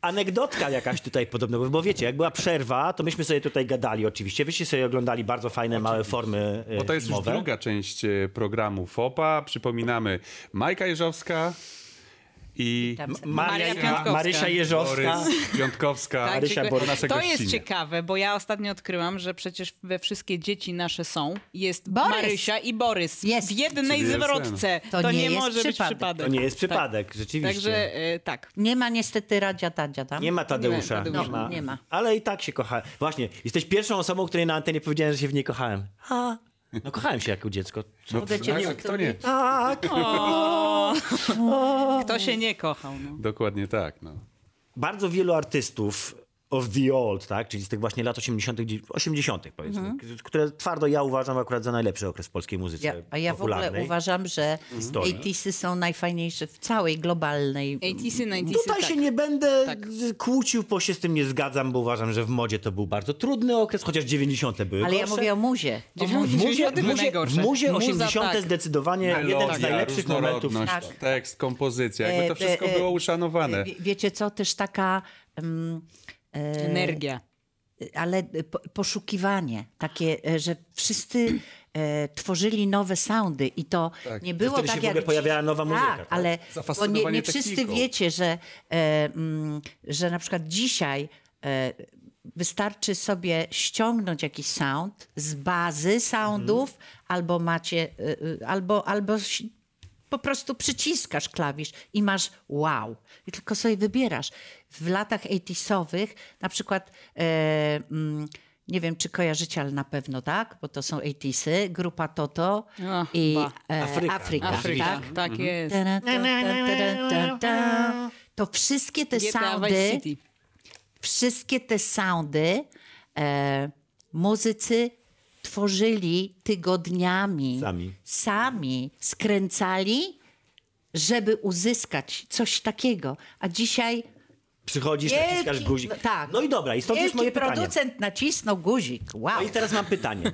A: Anegdotka jakaś tutaj podobna, bo- bo wiecie, jak była przerwa, to myśmy sobie tutaj gadali oczywiście. Wyście sobie oglądali bardzo fajne, małe formy e,
B: Bo to jest już
A: filmowe.
B: druga część e, programu FOPA. Przypominamy, Majka Jeżowska i
D: Tam-
A: Maria,
C: Maria Piątkowska.
A: Marysia Jeżowska.
B: Borys Piątkowska.
C: Tak,
A: Marysia
C: dziękuję.
A: Borys,
B: nasza
C: to jest
B: gościnie.
C: ciekawe, bo ja ostatnio odkryłam, że przecież we wszystkie dzieci nasze są. Jest
D: Borys.
C: Marysia i Borys
D: Jest.
C: w jednej
B: Czyli jest
C: zwrotce.
D: To
C: To,
D: nie
C: nie,
D: jest
C: może
D: przypadek.
C: być przypadek.
A: To nie jest przypadek,
C: Tak,
A: rzeczywiście.
C: także e, tak.
D: Nie ma niestety Radzia Tadzia tam.
A: Nie ma Tadeusza.
C: Tadeusza.
A: Nie ma.
D: No, nie ma.
A: Ale i tak się kocha. Właśnie, jesteś pierwszą osobą, której na antenie powiedziałem, że się w niej kochałem. Ha. No kochałem się jako dziecko.
B: No,
D: Mogę cię
B: tak,
D: nie
B: a kto nie?
A: Tak.
C: Kto się nie kochał? No.
B: Dokładnie tak. No.
A: Bardzo wielu artystów of the old, tak? czyli z tych właśnie lat 80., gdzie- 80. powiedzmy, k- które twardo ja uważam akurat za najlepszy okres w polskiej muzyce
D: Mhm. Ja, a ja w ogóle
A: popularnej.
D: uważam, że
A: Historii.
D: 80 y są najfajniejsze w całej globalnej
C: 80
D: no,
C: 90
A: Tutaj
C: tak.
A: się nie będę
C: Tak.
A: z- kłócił, bo się z tym nie zgadzam, bo uważam, że w modzie to był bardzo trudny okres, chociaż 90. były
D: Ale ja
A: gorsze.
D: mówię o muzie.
A: W muzie, w muzie, w muzie 80. zdecydowanie jeden z
B: Melodia,
A: najlepszych momentów.
B: różnorodność,
D: Tak.
B: tekst, kompozycja, jakby to
D: E,
B: wszystko
D: e, e,
B: było uszanowane.
D: Wie- Wiecie co, też taka, mm,
C: Energia.
D: ale po, poszukiwanie takie, e, że wszyscy e, tworzyli nowe soundy i to nie było
A: Wtedy się
D: tak
A: w
D: jak
A: ogóle pojawiała
D: dziś.
A: nowa muzyka,
D: Tak,
A: tak?
D: ale bo nie, nie
B: Zafascynowanie
D: wszyscy
B: techniką.
D: wiecie, że, e, mm, że na przykład dzisiaj e, wystarczy sobie ściągnąć jakiś sound z bazy soundów, albo macie, e, e, albo, albo ś- po prostu przyciskasz klawisz i masz wow. I tylko sobie wybierasz. W latach 80-owych na przykład e, mm, nie wiem, czy kojarzycie, ale na pewno tak, bo to są 80 grupa Toto
C: Ach,
D: i
C: ba.
D: e,
A: Afryka.
D: Afryka,
C: Afryka.
D: tak?
C: Tak,
A: Mhm.
C: jest.
D: Ta-ra, ta, ta, ta, ta, ta. To wszystkie te
C: GTA Vice
D: soundy,
C: City.
D: wszystkie te soundy e, muzycy tworzyli tygodniami.
A: Sami.
D: Sami skręcali, żeby uzyskać coś takiego. A dzisiaj
A: Przychodzisz,
D: Wielki-
A: naciskasz guzik.
D: no tak.
A: No i dobra, i stąd jest
D: wielki
A: moje pytanie.
D: producent nacisnął guzik. Wow.
A: No i teraz mam pytanie.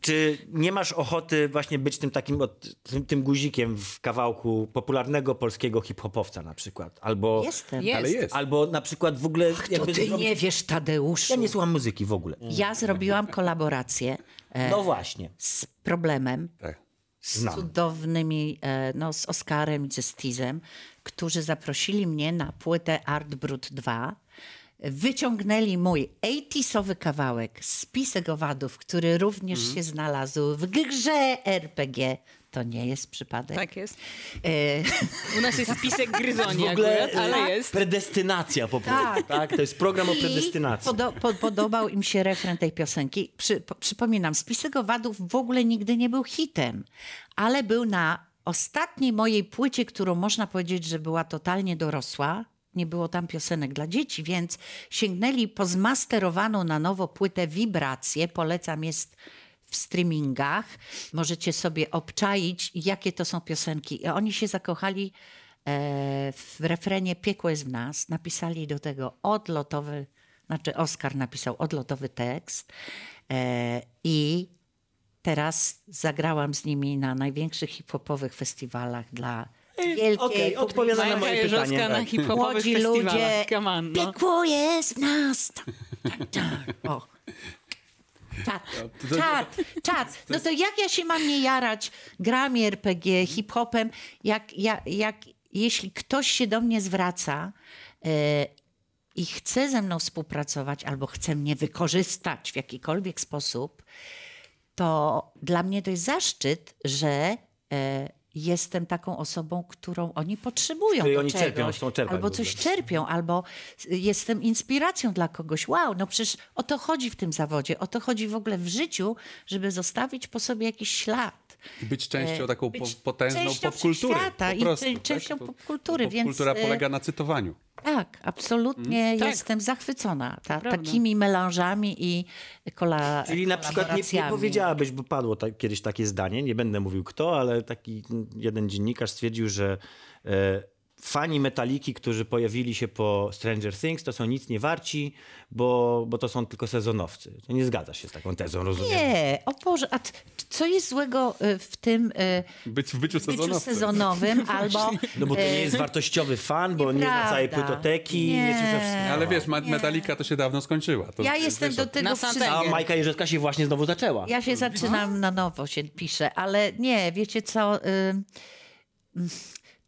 A: Czy nie masz ochoty właśnie być tym takim od, tym, tym guzikiem w kawałku popularnego polskiego hip-hopowca na przykład? Albo,
D: Jestem.
C: Jest.
B: Ale jest.
A: albo na przykład w ogóle...
D: To
A: jakby
D: ty
A: zrobić-
D: nie wiesz, Tadeuszu.
A: Ja nie słucham muzyki w ogóle.
D: Ja zrobiłam kolaborację e,
A: No właśnie.
D: z problemem.
B: Tak.
D: z
A: Znam.
D: cudownymi, e, no z Oskarem i ze Stizem, którzy zaprosili mnie na płytę Art Brut 2 wyciągnęli mój 80sowy kawałek, spisek owadów, który również
A: Mhm.
D: się znalazł w grze RPG. To nie jest przypadek.
C: Tak jest.
D: E,
C: U nas jest spisek gryzoni
A: W ogóle
C: akurat, ale
A: tak,
C: jest.
A: predestynacja po prostu.
D: Tak.
A: Tak. To jest program o
D: I
A: predestynacji.
D: Podo po podobał im się refren tej piosenki. Przy po przypominam, Spisek Owadów w ogóle nigdy nie był hitem, ale był na ostatniej mojej płycie, którą można powiedzieć, że była totalnie dorosła. Nie było tam piosenek dla dzieci, więc sięgnęli po zmasterowaną na nowo płytę Wibracje. Polecam, jest w streamingach. Możecie sobie obczaić, jakie to są piosenki. I oni się zakochali e, w refrenie Piekło jest w nas. Napisali do tego odlotowy, znaczy Oskar napisał odlotowy tekst. E, I teraz zagrałam z nimi na największych hip-hopowych festiwalach dla wielkiej
A: Okej,
D: publiczności.
A: odpowiada na
C: Majka
A: moje
C: Jeżowska
A: pytanie.
C: na
A: Tak.
C: hip-hopowych
D: Młodzi
C: festiwalach.
D: ludzie,
C: Come on, no.
D: piekło jest w nas. Tam, tam, tam. O. Czad, czad, czad. No to jak ja się mam nie jarać grami RPG, hip-hopem, jak, jak, jak jeśli ktoś się do mnie zwraca e, i chce ze mną współpracować albo chce mnie wykorzystać w jakikolwiek sposób, to dla mnie to jest zaszczyt, że e, jestem taką osobą, którą oni potrzebują.
A: której
D: do
A: oni
D: czegoś,
A: czerpią, chcą czerpać
D: albo
A: w ogóle.
D: coś czerpią, albo s- jestem inspiracją dla kogoś. Wow, no przecież o to chodzi w tym zawodzie, o to chodzi w ogóle w życiu, żeby zostawić po sobie jakiś ślad.
B: Być częścią
D: E,
B: taką
D: być
B: po, potężną
D: częścią
B: popkultury.
D: wszechświata i
B: po prostu,
D: czę-
B: tak?
D: częścią
B: To-
D: popkultury, więc,
B: Popkultura
D: e,
B: polega na cytowaniu.
D: Tak, absolutnie
A: Mm,
C: tak.
D: jestem zachwycona ta,
C: Prawda.
D: takimi melanżami i kola,
A: Czyli na przykład nie, nie
D: kolaboracjami.
A: powiedziałabyś, bo padło tak, kiedyś takie zdanie, nie będę mówił kto, ale taki jeden dziennikarz stwierdził, że e, fani metaliki, którzy pojawili się po Stranger Things, to są nic nie warci, bo, bo to są tylko sezonowcy. To nie zgadzasz się z taką tezą, rozumiem?
D: Nie, o Boże, a t- co jest złego e, w tym e,
B: Być w byciu
D: byciu
B: sezonowym.
D: sezonowym albo...
A: No bo to
D: e,
A: nie jest wartościowy fan, bo nie zna całej
D: Nieprawda.
A: płytoteki, nie,
D: Nie.
A: słyszał wszystkiego.
B: Ale wiesz, Ma- Metallica to się dawno skończyła. To
D: Ja
B: jest-
D: jestem
B: wiesz,
D: do tego
C: Santego.
D: przyzna-
A: A Majka Jerzewska się właśnie znowu zaczęła.
D: Ja się zaczynam na nowo, się piszę, ale nie, wiecie co? ym,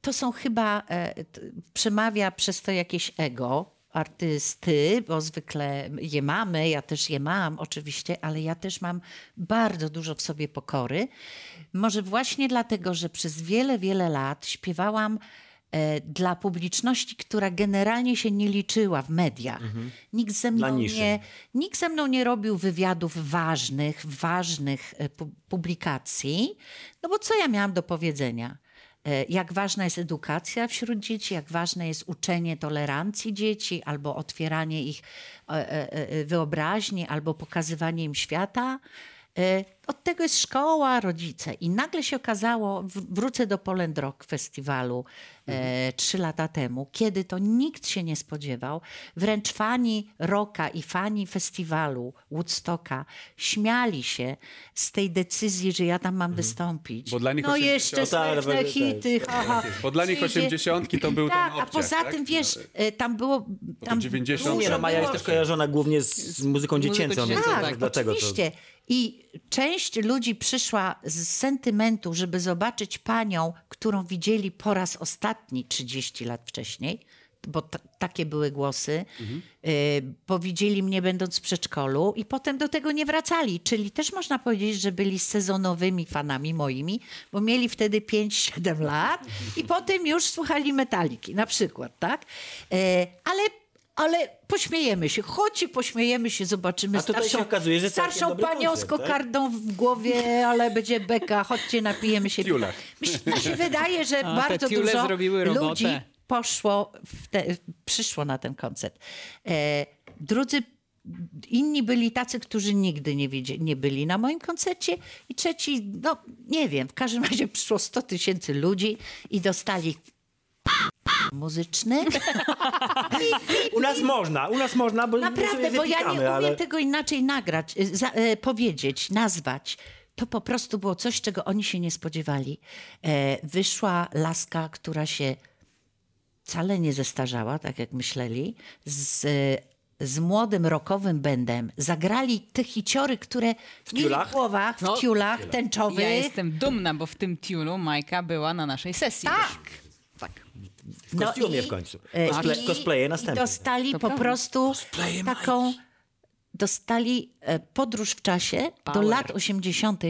D: To są chyba, e, t- przemawia przez to jakieś ego artysty, bo zwykle je mamy, ja też je mam oczywiście, ale ja też mam bardzo dużo w sobie pokory. Może właśnie dlatego, że przez wiele, wiele lat śpiewałam e, dla publiczności, która generalnie się nie liczyła w mediach. Nikt ze
A: Mhm. Dla
D: mną
A: niszy.
D: nie, Nikt ze mną nie robił wywiadów ważnych, ważnych e, pu- publikacji, no bo co ja miałam do powiedzenia? E, Jak ważna jest edukacja wśród dzieci, jak ważne jest uczenie tolerancji dzieci, albo otwieranie ich e, e, e, wyobraźni, albo pokazywanie im świata. E, Od tego jest szkoła, rodzice. I nagle się okazało, w- wrócę do Poland Rock Festiwalu
B: Mhm.
D: e, trzy lata temu, kiedy to nikt się nie spodziewał. Wręcz fani rocka i fani festiwalu Woodstocka śmiali się z tej decyzji, że ja tam mam wystąpić.
B: Mhm. Bo dla nich
D: no
B: oczywiście-
D: jeszcze
B: O,
A: tak,
D: słynne
A: tak, tak.
D: hity, ha, ha.
B: Bo dla nich
D: Przyjdzie-
B: osiemdziesiątki to był ten
D: tak,
B: obciach,
D: a poza
B: tak?
D: tym, wiesz, e, tam było... Tam
B: 90
D: dużo
A: Nie, no Maja jest
D: było-
A: też kojarzona głównie z, z muzyką dziecięcą, więc
C: dziecięcą,
A: może
D: tak,
C: tak.
A: dlatego to...
D: oczywiście. I część ludzi przyszła z sentymentu, żeby zobaczyć panią, którą widzieli po raz ostatni 30 lat wcześniej, bo t- takie były głosy, y, bo widzieli mnie będąc w przedszkolu i potem do tego nie wracali. Czyli też można powiedzieć, że byli sezonowymi fanami moimi, bo mieli wtedy 5-7 lat i potem już słuchali metaliki na przykład, tak? Y, Ale... Ale pośmiejemy się, chodź i pośmiejemy się, zobaczymy
A: A tutaj się okazuje, że całkiem
D: starszą
A: dobry
D: panią z
A: koncert, tak?
D: kokardą w głowie, ale będzie beka, chodźcie, napijemy się. piwa.
B: Tiulach.
D: Mi się wydaje, że
C: A,
D: bardzo
C: te tiule
D: dużo
C: zrobiły robotę.
D: ludzi poszło, w te, przyszło na ten koncert. E, drudzy, inni byli tacy, którzy nigdy nie, wiedzie, nie byli na moim koncercie i trzeci, no nie wiem, w każdym razie przyszło 100 tysięcy ludzi i dostali muzyczny.
A: U nas można, u nas można, bo
D: Naprawdę,
A: sobie
D: bo ja nie
A: wypikamy,
D: umiem
A: ale...
D: tego inaczej nagrać, y, za, e, powiedzieć, nazwać. To po prostu było coś, czego oni się nie spodziewali. E, wyszła laska, która się wcale nie zestarzała, tak jak myśleli, z, z młodym rokowym bendem. Zagrali te hiciory, które w mieli
A: ciulach?
D: w głowach, w
C: No,
D: ciulach, tęczowych.
C: Ja jestem dumna, bo w tym tiulu Majka była na naszej sesji.
D: Tak. e,
C: Tak.
A: W kostiumie w końcu. Cosplay,
D: i-
A: cosplaye
D: I
A: następne.
D: dostali po
C: prawda.
D: prostu taką. Dostali e, podróż w czasie do
C: Power.
D: lat 80.,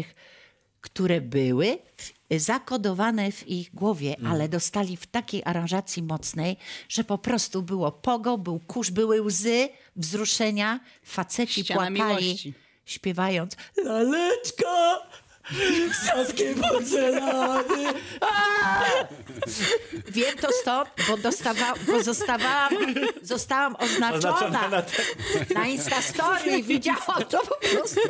D: które były w- zakodowane w ich głowie,
A: Mm.
D: ale dostali w takiej aranżacji mocnej, że po prostu było pogo, był kurz, były łzy, wzruszenia, faceci
C: Ściana
D: płakali,
C: miłości.
D: śpiewając Laleczka! Saskie porcelany! Wiem to stąd, bo, dostawa, bo zostawałam, zostałam oznaczona
A: Oznaczona na
D: na, na Instastory i widziałam to po prostu.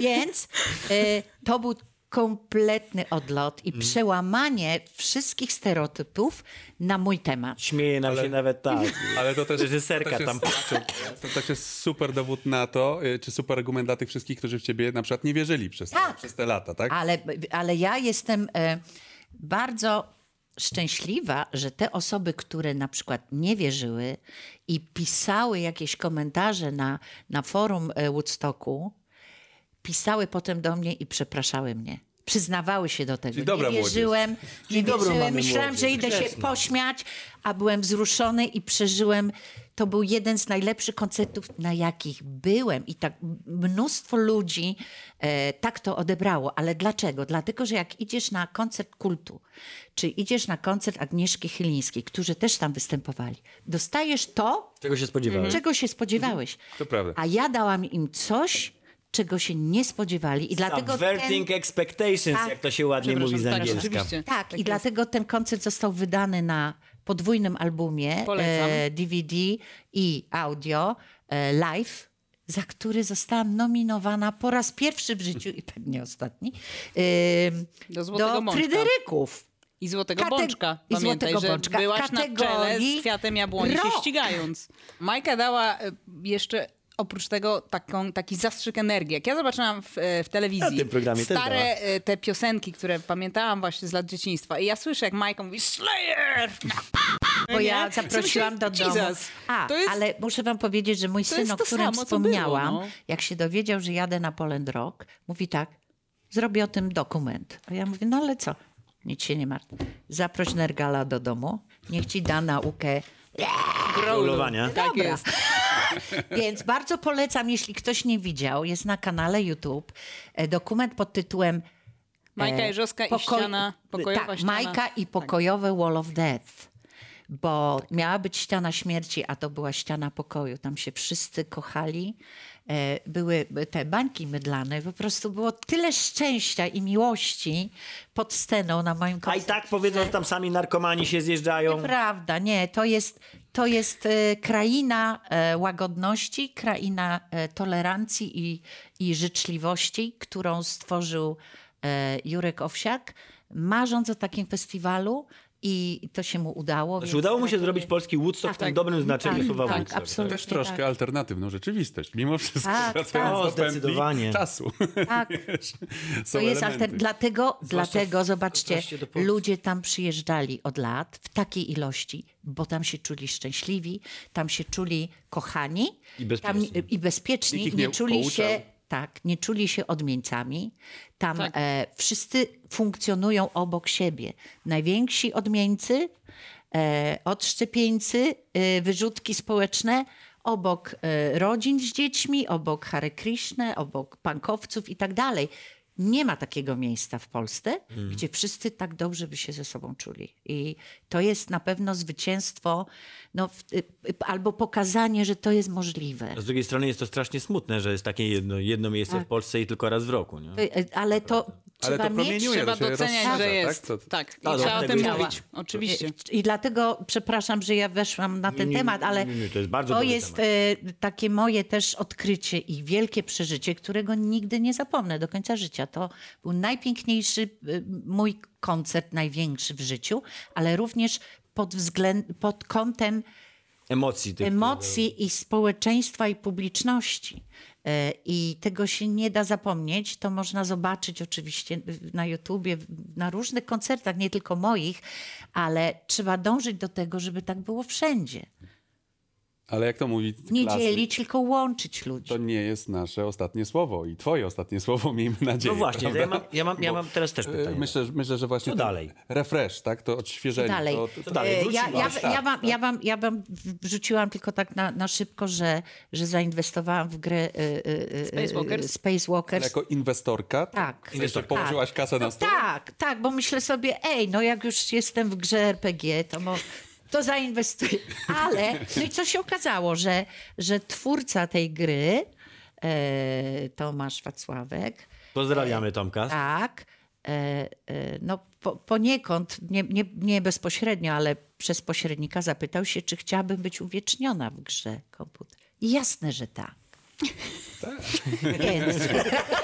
D: Więc y, to był kompletny odlot i przełamanie wszystkich stereotypów na mój temat.
A: Śmieje nam się nawet tak.
B: Ale to też,
A: Reżyserka
B: to też
A: tam.
B: Jest, to też jest super dowód na to, y, czy super argument dla tych wszystkich, którzy w ciebie na przykład nie wierzyli przez,
D: Tak.
B: przez te lata, tak?
D: Ale, ale ja jestem e, bardzo szczęśliwa, że te osoby, które na przykład nie wierzyły i pisały jakieś komentarze na, na forum e, Woodstocku, pisały potem do mnie i przepraszały mnie. Przyznawały się do tego.
B: Czyli dobra
D: nie
B: młodzież.
D: wierzyłem, nie
A: dobrą
D: wierzyłem.
A: mamy
D: myślałam, że
A: młodzież.
D: idę się
A: Grzeczna.
D: pośmiać, a byłem wzruszony i przeżyłem. To był jeden z najlepszych koncertów, na jakich byłem. I tak mnóstwo ludzi e, tak to odebrało. Ale dlaczego? Dlatego, że jak idziesz na koncert kultu, czy idziesz na koncert Agnieszki Chylińskiej, którzy też tam występowali, dostajesz to,
A: Czego się spodziewałeś?
D: czego się spodziewałeś.
B: Mhm. To prawda.
D: A ja dałam im coś, czego się nie spodziewali. I dlatego ten,
A: Subverting expectations,
D: Tak.
A: jak to się ładnie mówi z
C: tak,
A: angielska.
C: oczywiście.
D: tak, i dlatego ten koncert został wydany na podwójnym albumie e,
C: Polecam.
D: DVD i audio e, live, za który zostałam nominowana po raz pierwszy w życiu i pewnie ostatni em,
C: Do Złotego
D: do
C: Mączka.
D: Fryderyków.
C: I Złotego
D: Kate-
C: Bączka.
D: i
C: Pamiętaj,
D: Złotego
C: że
D: Bączka.
C: byłaś na czele
D: Kategorii
C: z kwiatem jabłoni się
D: rok.
C: ścigając. Majka dała e, jeszcze... Oprócz tego taką, taki zastrzyk energii. Jak ja zobaczyłam w, e, w telewizji
A: Na tym programie też
C: stare
A: dała.
C: e, te piosenki, które pamiętałam właśnie z lat dzieciństwa i ja słyszę, jak Majka mówi Slayer!
D: Bo ja
C: Nie?
D: zaprosiłam do
C: Myślę,
D: domu.
C: Jesus,
D: A,
C: to jest-
D: ale muszę wam powiedzieć, że mój
C: to
D: syn,
C: jest
D: o
C: to
D: którym
C: samo, co
D: wspomniałam,
C: było, no.
D: jak się dowiedział, że jadę na Poland Rock, mówi tak, zrobię o tym dokument. A ja mówię, no ale co? Nic się nie martw. Zaproś Nergala do domu, niech ci da naukę.
A: Growlowania.
C: Tak jest.
D: Więc bardzo polecam, jeśli ktoś nie widział, jest na kanale YouTube e, dokument pod tytułem
C: Majka Jeżowska i
D: pokoj-
C: ściana, pokojowa
D: E, tak,
C: ściana.
D: Majka i pokojowe Wall of Death. Bo miała być ściana śmierci, a to była ściana pokoju. Tam się wszyscy kochali. E, Były te bańki mydlane. Po prostu było tyle szczęścia i miłości pod sceną na moim
A: A i
D: koncercie.
A: tak powiedzą, że tam sami narkomani się zjeżdżają.
D: Prawda, nie. To jest, to jest e, kraina e, łagodności, kraina e, tolerancji i, i życzliwości, którą stworzył e, Jurek Owsiak, marząc o takim festiwalu i to się mu udało.
A: Znaczy,
D: więc
A: udało mu się
D: gratuluję.
A: zrobić polski Woodstock w
D: Tak,
A: tym dobrym znaczeniu
D: tak,
A: słowa
D: tak,
A: Woodstock.
D: absolutnie.
B: Też troszkę alternatywną rzeczywistość, mimo wszystko
D: Tak,
B: wracając
A: tak.
B: do
A: O, zdecydowanie.
B: pętli czasu.
D: Tak.
B: Wiesz, są
D: To jest
B: elementy.
D: alter... Dlatego, dlatego zobaczcie,
A: kontraście do Polski.
D: ludzie tam przyjeżdżali od lat w takiej ilości, bo tam się czuli szczęśliwi, tam się czuli kochani
A: I bezpieczni.
D: Tam, i bezpieczni.
B: Nikt ich
D: nie,
B: nie
D: czuli
B: pouczał.
D: się tak, nie czuli się odmieńcami. Tam
C: Tak.
D: e, wszyscy funkcjonują obok siebie. Najwięksi odmieńcy, e, odszczepieńcy, e, wyrzutki społeczne obok e, rodzin z dziećmi, obok Hare Krishna, obok pankowców i tak dalej. Nie ma takiego miejsca w Polsce, gdzie wszyscy tak dobrze by się ze sobą czuli. I to jest na pewno zwycięstwo, no, w, y, y, albo pokazanie, że to jest możliwe.
A: Z drugiej strony jest to strasznie smutne, że jest takie jedno, jedno miejsce w Polsce i tylko raz w roku. Nie?
D: Y, Ale Tak. to
B: Ale
D: trzeba
B: to
D: mieć
B: promieniuje,
C: Trzeba
B: to się
C: doceniać,
B: rozszerza,
C: że
B: tak?
C: jest.
B: To-
C: Tak, i
A: A,
C: trzeba o
A: dlatego
C: tym
A: jest-
C: mówić. Oczywiście.
D: y, I dlatego przepraszam, że ja weszłam na ten
A: nie,
D: temat, ale
A: nie, nie, to jest bardzo
D: to
A: dobry
D: jest e, takie moje też odkrycie i wielkie przeżycie, którego nigdy nie zapomnę do końca życia. To był najpiękniejszy e, mój koncert, największy w życiu, ale również pod, względ, pod kątem
A: Emocji tych.
D: emocji i społeczeństwa i publiczności. E, I tego się nie da zapomnieć. To można zobaczyć oczywiście na YouTubie, w- na różnych koncertach, nie tylko moich, ale trzeba dążyć do tego, żeby tak było wszędzie.
B: Ale jak to mówi
D: Nie
B: klasyk,
D: dzielić, tylko łączyć ludzi.
B: to nie jest nasze ostatnie słowo i twoje ostatnie słowo, miejmy nadzieję.
A: No właśnie,
B: prawda?
A: ja mam, y, ja mam, ja
B: Bo,
A: mam teraz też
B: e,
A: pytanie.
B: Myślę, że- myślę, że właśnie
A: Co
B: ten
A: dalej?
B: refresh, tak? To odświeżenie.
D: dalej.
B: To,
A: Co dalej?
D: E,
A: Wrócimy.
D: Ja, ja,
B: tak,
A: Start,
D: ja, wam, ja, wam, ja wam wrzuciłam tylko tak na, na szybko, że, że zainwestowałam w grę e, e, e,
C: Spacewalkers?
D: Spacewalkers.
B: jako inwestorka
D: Tak.
B: Jeszcze
A: Inwestorka.
B: położyłaś kasę na
D: No
B: stół?
D: tak, tak, bo myślę sobie, ej, no jak już jestem w grze RPG, to mo, to zainwestuję. Ale, no i co się okazało, że, że twórca tej gry, e, Tomasz Wacławek,
A: Pozdrawiamy Tomka.
D: tak. E, e, no po, poniekąd, nie, nie, nie bezpośrednio, ale przez pośrednika zapytał się, czy chciałabym być uwieczniona w grze komputer. I Jasne, że tak. Więc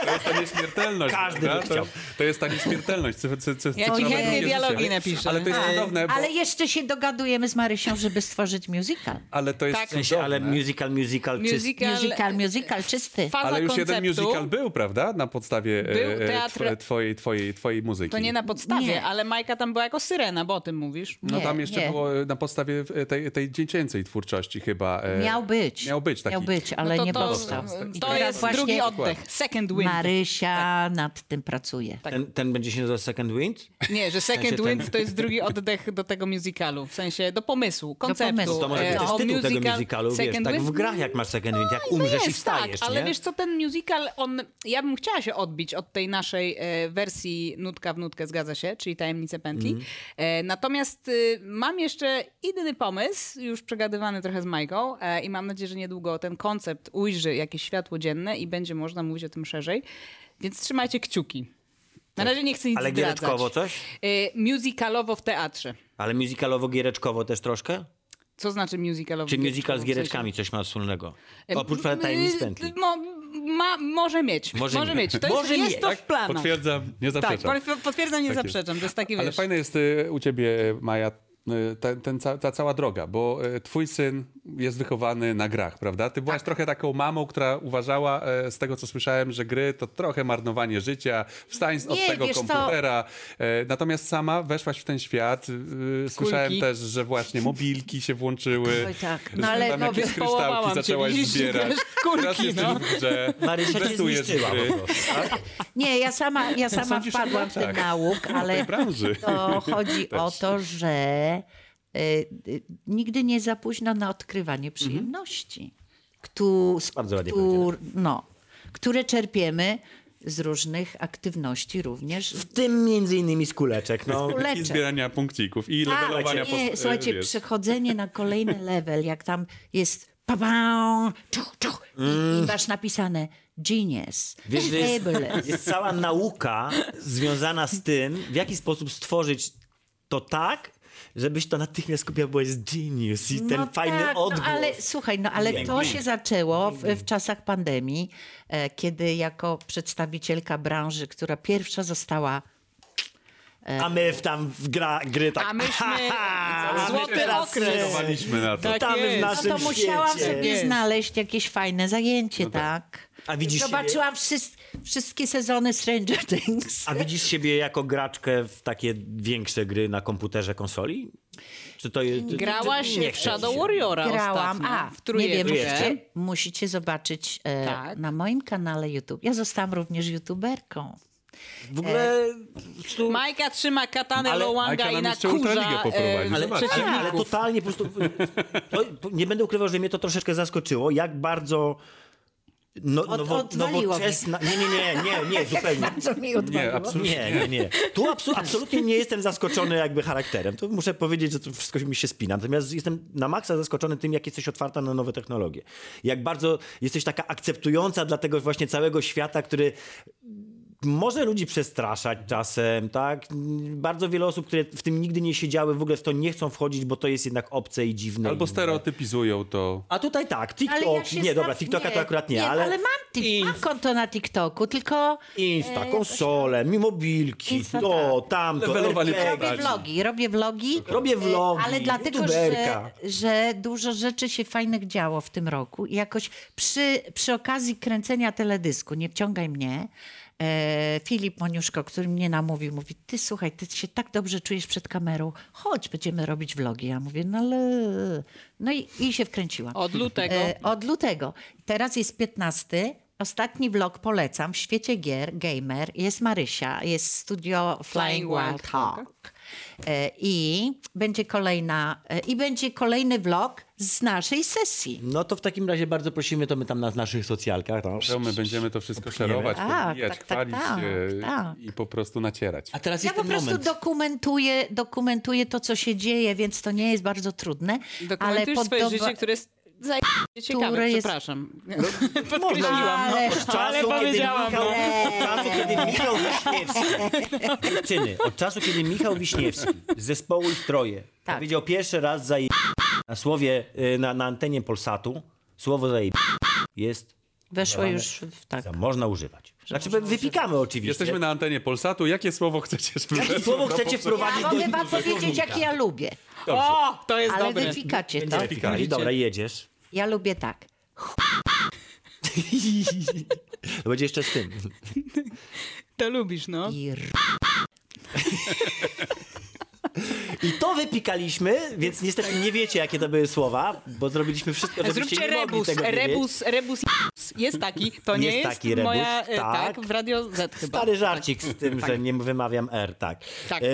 B: To jest ta nieśmiertelność.
A: Każdy
B: prawda?
A: by
B: to,
A: chciał.
B: to jest ta nieśmiertelność. Cyf, cyf, cyf,
C: Ja ci
B: cyfrowe
D: chętnie
B: drugie
C: dialogi
B: życie.
C: napiszę.
B: Ale to jest
C: Ale-
B: cudowne, bo, ale,
D: ale jeszcze się dogadujemy z Marysią, żeby stworzyć musical.
B: to jest
C: Tak.
A: W sensie,
B: cudowne.
A: ale musical, musical, czy...
C: Musical, e,
D: Musical, musical, czysty.
C: faza
B: Ale już
C: konceptu,
B: jeden musical był, prawda? Na podstawie e,
C: Był
B: e,
C: teatr-
B: tw- twojej, twojej, twojej muzyki.
C: To nie na podstawie,
D: Nie.
C: ale Majka tam była jako syrena, bo o tym mówisz.
B: No
D: Nie,
B: tam jeszcze
D: nie.
B: było e, na podstawie e, tej, tej dziecięcej twórczości chyba. e,
D: Miał być.
B: Miał być taki.
D: Miał być, ale
C: no to,
D: nie
C: to,
D: powstał. I
C: To
D: teraz
C: jest drugi Tak. oddech, second wind.
D: Marysia nad tym pracuje.
C: Tak.
A: Ten, ten będzie się nazywał Second Wind?
C: Nie, że second
A: sensie Znaczy, ten-
C: wind to jest drugi oddech do tego musicalu, w sensie do pomysłu, konceptu.
D: pomysłu.
A: To może
C: e,
A: być też
C: o
A: tytuł tego
C: musical
A: musicalu, wiesz,
C: Second
A: tak
C: Wind.
A: w grach jak masz Second Wind, jak
C: No
A: umrzesz i
C: jest, tak,
A: wstajesz,
C: ale
A: nie?
C: wiesz co, ten musical, on, ja bym chciała się odbić od tej naszej e, wersji nutka w nutkę, zgadza się, czyli tajemnice pętli.
A: Mhm.
C: E, natomiast y, mam jeszcze inny pomysł, już przegadywany trochę z Majką e, i mam nadzieję, że niedługo ten koncept ujrzy jakieś światło dzienne i będzie można mówić o tym szerzej, więc trzymajcie kciuki. Na razie nie chcę nic
A: Tak. Ale
C: zdradzać.
A: giereczkowo coś?
C: E, musicalowo w teatrze.
A: Ale musicalowo-giereczkowo też troszkę?
C: Co znaczy musicalowo?
A: Czy
C: w
A: musical z
C: teatrze? W sensie-
A: giereczkami coś ma wspólnego?
C: E,
A: Oprócz
C: m-
A: tajemnic
C: y,
A: pętli.
C: Mo, ma, może mieć.
A: Może
C: Może,
A: nie.
C: mieć. To
A: Może tak?
C: jest,
A: nie.
C: jest to w planach.
B: tak? Potwierdzam, nie
C: tak,
B: zaprzeczam.
C: potw- potwierdzam, nie
B: Tak jest.
C: zaprzeczam. To jest taki
B: Ale
C: wiesz.
B: fajna jest y, u ciebie, y, Maja, y, ten, ten, ca- ta cała droga, bo y, twój syn jest wychowany na grach, prawda? Ty
D: Tak.
B: byłaś trochę taką mamą, która uważała, y, z tego co słyszałem, że gry to trochę marnowanie życia, wstań z- od
D: Nie,
B: tego
D: wiesz co?
B: komputera. Y, Natomiast sama weszłaś w ten świat. y, Słyszałem też, że właśnie mobilki się włączyły.
D: Oj, tak.
B: że
D: No, ale
B: tam
D: no,
B: jakieś kryształki
C: wywołałam cię,
B: zaczęłaś
C: widzisz,
B: zbierać.
C: wiesz, kulki,
B: Teraz jesteś
C: no.
B: w grze.
A: Marysia cię
B: inwestujesz w
A: zniszczyła
B: gry.
A: po prostu.
D: Nie, ja sama, ja sama
B: sądzisz, że
D: wpadłam w
B: tak.
D: ten nauk, ale
B: branży.
D: to chodzi o to, że y, y, nigdy nie za późno na
B: Mhm.
D: odkrywanie przyjemności, któ, z,
A: Bardzo ładnie
D: któr, no, które czerpiemy z różnych aktywności również.
A: W tym między innymi z kuleczek, no.
D: Kuleczek.
B: I zbierania punkcików, i
D: Tak,
B: levelowania.
D: nie,
A: e,
B: pos-
D: słuchajcie,
B: wiesz.
D: przechodzenie na kolejny level, jak tam jest pa pa, czu, czu, i, i masz napisane genius,
A: Mm. Wiesz, że jest,
D: fabulous.
A: jest cała nauka związana z tym, w jaki sposób stworzyć to tak, żebyś to natychmiast kupił, bo jest genius i ten fajny
D: tak,
A: odgłos.
D: No ale słuchaj, no ale to się zaczęło w, w czasach pandemii, e, kiedy jako przedstawicielka branży, która pierwsza została
A: A my w tam w gra, gry tak...
C: A myśmy
A: ha,
C: złoty
A: my teraz,
C: okres.
A: e,
B: Pracowaliśmy na to.
C: Tak
A: Witamy w
C: jest.
A: naszym
D: no to musiałam
A: świecie. No
D: sobie
C: Jest.
D: znaleźć jakieś fajne zajęcie, tak.
A: A widzisz e,
D: Zobaczyłam wszys- wszystkie sezony Stranger Things.
A: A widzisz siebie jako graczkę w takie większe gry na komputerze konsoli? Czy to jest... czy-
C: Grałaś
A: czy nie
C: w
A: chcesz
C: Shadow
A: się?
C: Warriora
D: Grałam,
C: ostatnio.
D: a
C: w
D: nie wiem,
C: trójeczkę.
D: musicie, musicie zobaczyć e,
C: Tak.
D: na moim kanale YouTube. Ja zostałam również youtuberką.
A: W
C: E,
A: ogóle... Tu...
C: Majka trzyma katanę
A: Ale-
C: Loanga
B: Majka
C: i
B: nam
C: na
B: jeszcze Ultraligę
C: kurza
B: poprowadzi,
C: e,
B: zobacz.
A: Ale, ale
C: przeciwników.
A: totalnie po prostu. To, to nie będę ukrywał, że mnie to troszeczkę zaskoczyło, jak bardzo. No,
D: Od-
A: nowo,
D: odwaliło
A: nowoczesna. Nie, nie, nie, nie, nie, zupełnie.
D: Co mi
B: Nie,
D: odwaliło?
B: absolutnie.
A: Nie, nie, nie. Tu absu- absolutnie nie jestem zaskoczony jakby charakterem. To muszę powiedzieć, że to wszystko mi się spina. Natomiast jestem na maksa zaskoczony tym, jak jesteś otwarta na nowe technologie. Jak bardzo jesteś taka akceptująca dla tego właśnie całego świata, który może ludzi przestraszać czasem, tak? Bardzo wiele osób, które w tym nigdy nie siedziały, w ogóle w to nie chcą wchodzić, bo to jest jednak obce i dziwne.
B: Albo
A: I-
B: stereotypizują to.
A: A tutaj tak, TikTok,
D: Ale ja się
A: nie, dobra,
D: staw-
A: TikToka to akurat nie,
D: nie
A: ale...
D: ale mam, tik, mam konto na TikToku, tylko
A: Insta, konsole, mobilki,
D: Insta, tak.
A: to, tamto,
B: Levelowanie
A: RPG,
B: podaży.
D: robię vlogi, robię vlogi.
A: Robię
D: e,
A: vlogi,
D: Ale dlatego,
A: youtuberka.
D: że, że dużo rzeczy się fajnych działo w tym roku i jakoś przy, przy okazji kręcenia teledysku, nie wciągaj mnie, E, Filip Moniuszko, który mnie namówił, mówi, ty słuchaj, ty się tak dobrze czujesz przed kamerą, chodź, będziemy robić vlogi. Ja mówię, no ale... No i, i się wkręciłam.
C: Od lutego.
D: E, od lutego. Teraz jest 15. Ostatni vlog polecam w świecie gier, gamer. Jest Marysia, jest studio Flying Wild Hawk. E, I będzie kolejna, e, i będzie kolejny vlog z naszej sesji.
A: No to w takim razie bardzo prosimy, to my tam na naszych socjalkach. No.
B: To my będziemy to wszystko szerować,
D: Tak,
B: podbijać,
D: tak, tak,
B: chwalić
D: tak,
B: e,
D: tak.
B: i po prostu nacierać.
A: A teraz
D: Ja
A: jest
D: po
A: ten
D: prostu
A: moment.
D: dokumentuję, dokumentuję to, co się dzieje, więc to nie jest bardzo trudne. Ale
C: Dokumentujesz swoje
D: podoba-
C: życie, które jest zaje- ciekawe,
D: Które jest-
C: przepraszam.
B: No,
C: Podkreśliłam. no.
D: Ale-
A: Od czasu,
C: Ale
A: kiedy
C: powiedziałam,
A: Michał, od czasu, kiedy Michał Wiśniewski, dziewczyny, od czasu, kiedy Michał Wiśniewski z zespołu Ich Troje
D: Tak.
A: powiedział pierwszy raz zaje... na słowie, y, na, na antenie Polsatu, słowo zaje... jest,
D: Weszło już w tak.
A: za- można używać. Znaczy, wypikamy oczywiście.
B: Jesteśmy na antenie Polsatu. Jakie słowo chcecie? żeby
A: Jakie
B: weszło
A: słowo
B: na
A: chcecie
B: powszechne-
A: wprowadzić
D: Ja
A: do-
D: mogę wam
A: do
D: powiedzieć,
A: słownika?
D: jak ja lubię,
C: O, to jest
D: ale
C: dobre.
D: wypikacie to.
A: Będziemy pikali. Dobra, jedziesz.
D: Ja lubię tak.
A: To będzie jeszcze z tym.
C: To lubisz, no.
D: I r-
A: I to wypikaliśmy, więc niestety nie wiecie, jakie to były słowa, bo zrobiliśmy wszystko, żebyście
C: Zróbcie
A: nie mogli
C: rebus,
A: tego nie wiedzieć.
C: rebus, rebus jest taki, to nie
A: Jest
C: jest,
A: taki rebus,
C: moja, e,
A: tak.
C: tak, w Radio Z chyba.
A: Stary żarcik z tym, że nie wymawiam R, tak.
C: Tak.
A: E,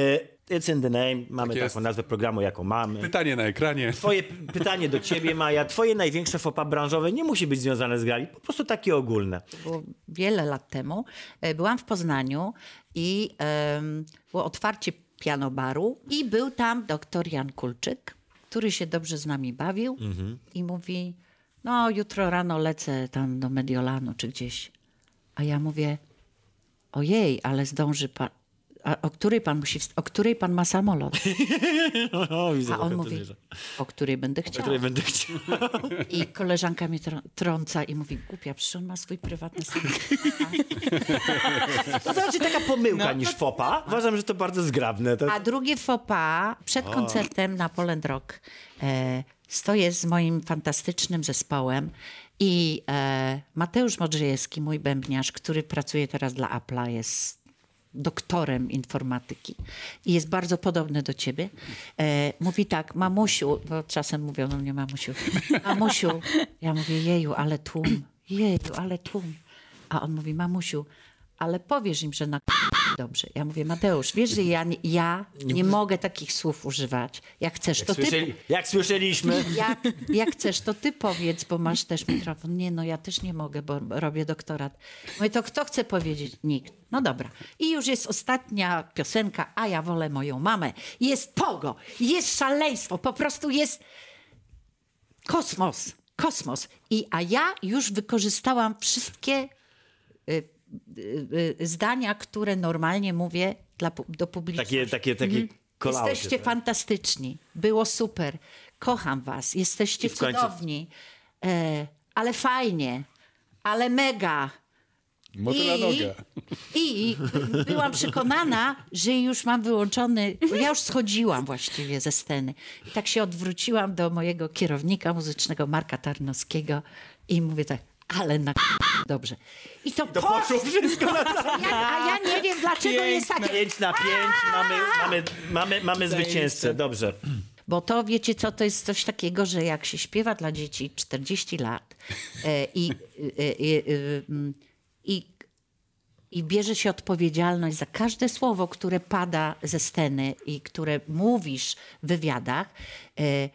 A: It's in the name, mamy
B: jest.
A: taką nazwę programu, jaką mamy.
B: Pytanie na ekranie.
A: Twoje p- pytanie do ciebie, Maja. Twoje największe fopa branżowe nie musi być związane z grami, po prostu takie ogólne.
D: było wiele lat temu, e, byłam w Poznaniu i em, było otwarcie pianobaru i był tam doktor Jan Kulczyk, który się dobrze z nami bawił i mówi, no jutro rano lecę tam do Mediolanu czy gdzieś. A ja mówię, ojej, ale zdąży pan, a o której pan musi, wst- o której pan ma samolot?
A: O, widzę,
D: A on mówi, o której będę chciał.
A: Której będę chciał.
D: I koleżanka mnie trą- trąca i mówi, głupia, przecież on ma swój prywatny samolot.
A: To znaczy taka pomyłka
C: No,
A: niż fopa. Uważam, że to bardzo zgrabne. tak? To...
D: A drugie faux pas przed koncertem na Poland Rock. E, stoję z moim fantastycznym zespołem i e, Mateusz Modrzejewski, mój bębniarz, który pracuje teraz dla Apple'a, jest doktorem informatyki i jest bardzo podobny do ciebie. E, mówi tak, mamusiu, bo czasem mówią do mnie mamusiu, mamusiu. Ja mówię, jeju, ale tłum, jeju, ale tłum. A on mówi, mamusiu, ale powiesz im, że na dobrze. Ja mówię, Mateusz, wiesz, że ja, nie- ja nie mogę takich słów używać. Jak chcesz, to ty
A: Słyszeli... Jak słyszeliśmy.
D: jak, jak chcesz, to ty powiedz, bo masz też mikrofon. Nie, no ja też nie mogę, bo robię doktorat. Mówię, to kto chce powiedzieć? Nikt. No dobra. I już jest ostatnia piosenka, a ja wolę moją mamę. Jest pogo, jest szaleństwo, po prostu jest kosmos, kosmos. I, a ja już wykorzystałam wszystkie y, y, y, zdania, które normalnie mówię dla, pu- do publiczności.
A: Takie, takie, takie
C: Mhm.
A: kolauty,
D: Jesteście
A: tak?
D: fantastyczni. Było super. Kocham was. Jesteście
A: I w końcu-
D: cudowni. E, ale fajnie. Ale mega.
B: Motyla noga.
D: I byłam przekonana, że już mam wyłączony. Ja już schodziłam właściwie ze sceny. I tak się odwróciłam do mojego kierownika muzycznego Marka Tarnowskiego i mówię tak, ale na dobrze. I to,
A: To
D: poszło.
A: poszło wszystko na cały.
D: Ja, a ja nie wiem, dlaczego jest tak- takie.
A: 5 na 5 mamy, mamy, mamy, mamy zwycięzcę. Dobrze.
D: Bo to wiecie co, to jest coś takiego, że jak się śpiewa dla dzieci 40 lat e, i, i, i, y, mm, i, i bierze się odpowiedzialność za każde słowo, które pada ze sceny i które mówisz w wywiadach e,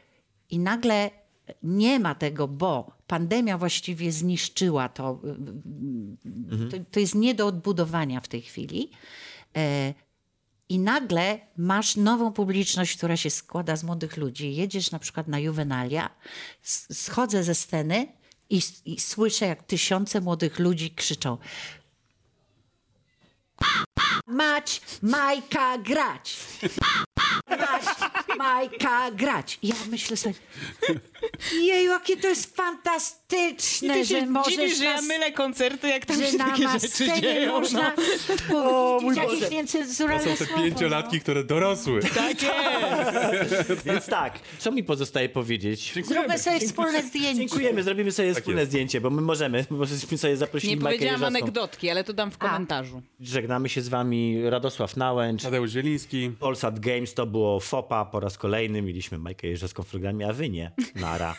D: i nagle nie ma tego, bo pandemia właściwie zniszczyła to, y, y, y, to,
C: Mhm.
D: to jest nie do odbudowania w tej chwili. E, i nagle masz nową publiczność, która się składa z młodych ludzi. Jedziesz na przykład na Juvenalia, s- schodzę ze sceny i, s- i słyszę, jak tysiące młodych ludzi krzyczą mać Majka grać. Mać Majka grać. Ja myślę sobie, jeju, jakie to jest fantastyczne.
C: I
D: fantastyczne,
C: ty się
D: że możesz
C: dziwisz, że ja
D: nas-
C: mylę koncerty, jak tam
D: że
C: się
D: na
C: takie
D: masce
C: rzeczy
D: nie
C: dzieją. no.
D: można
A: O, mój
D: powiedzieć jakieś
A: Boże.
B: To są
D: więcenzuralne
B: te
D: słowo. no.
B: pięciolatki, które dorosły.
C: Tak jest.
A: Więc tak, co mi pozostaje powiedzieć? Tak
D: Zróbmy sobie wspólne zdjęcie.
A: Dziękujemy, zrobimy sobie wspólne
B: jest.
A: zdjęcie, bo my możemy, bo żeśmy sobie zaprosili
C: Nie
A: Majkę
C: powiedziałam
A: Jeżowską.
C: anegdotki, ale to dam w komentarzu.
A: Żegnamy się z wami Radosław Nałęcz,
B: Tadeusz Zieliński.
A: Polsat Games, to było FOPA po raz kolejny, mieliśmy Majkę Jeżowską w programie, a wy nie. Nara.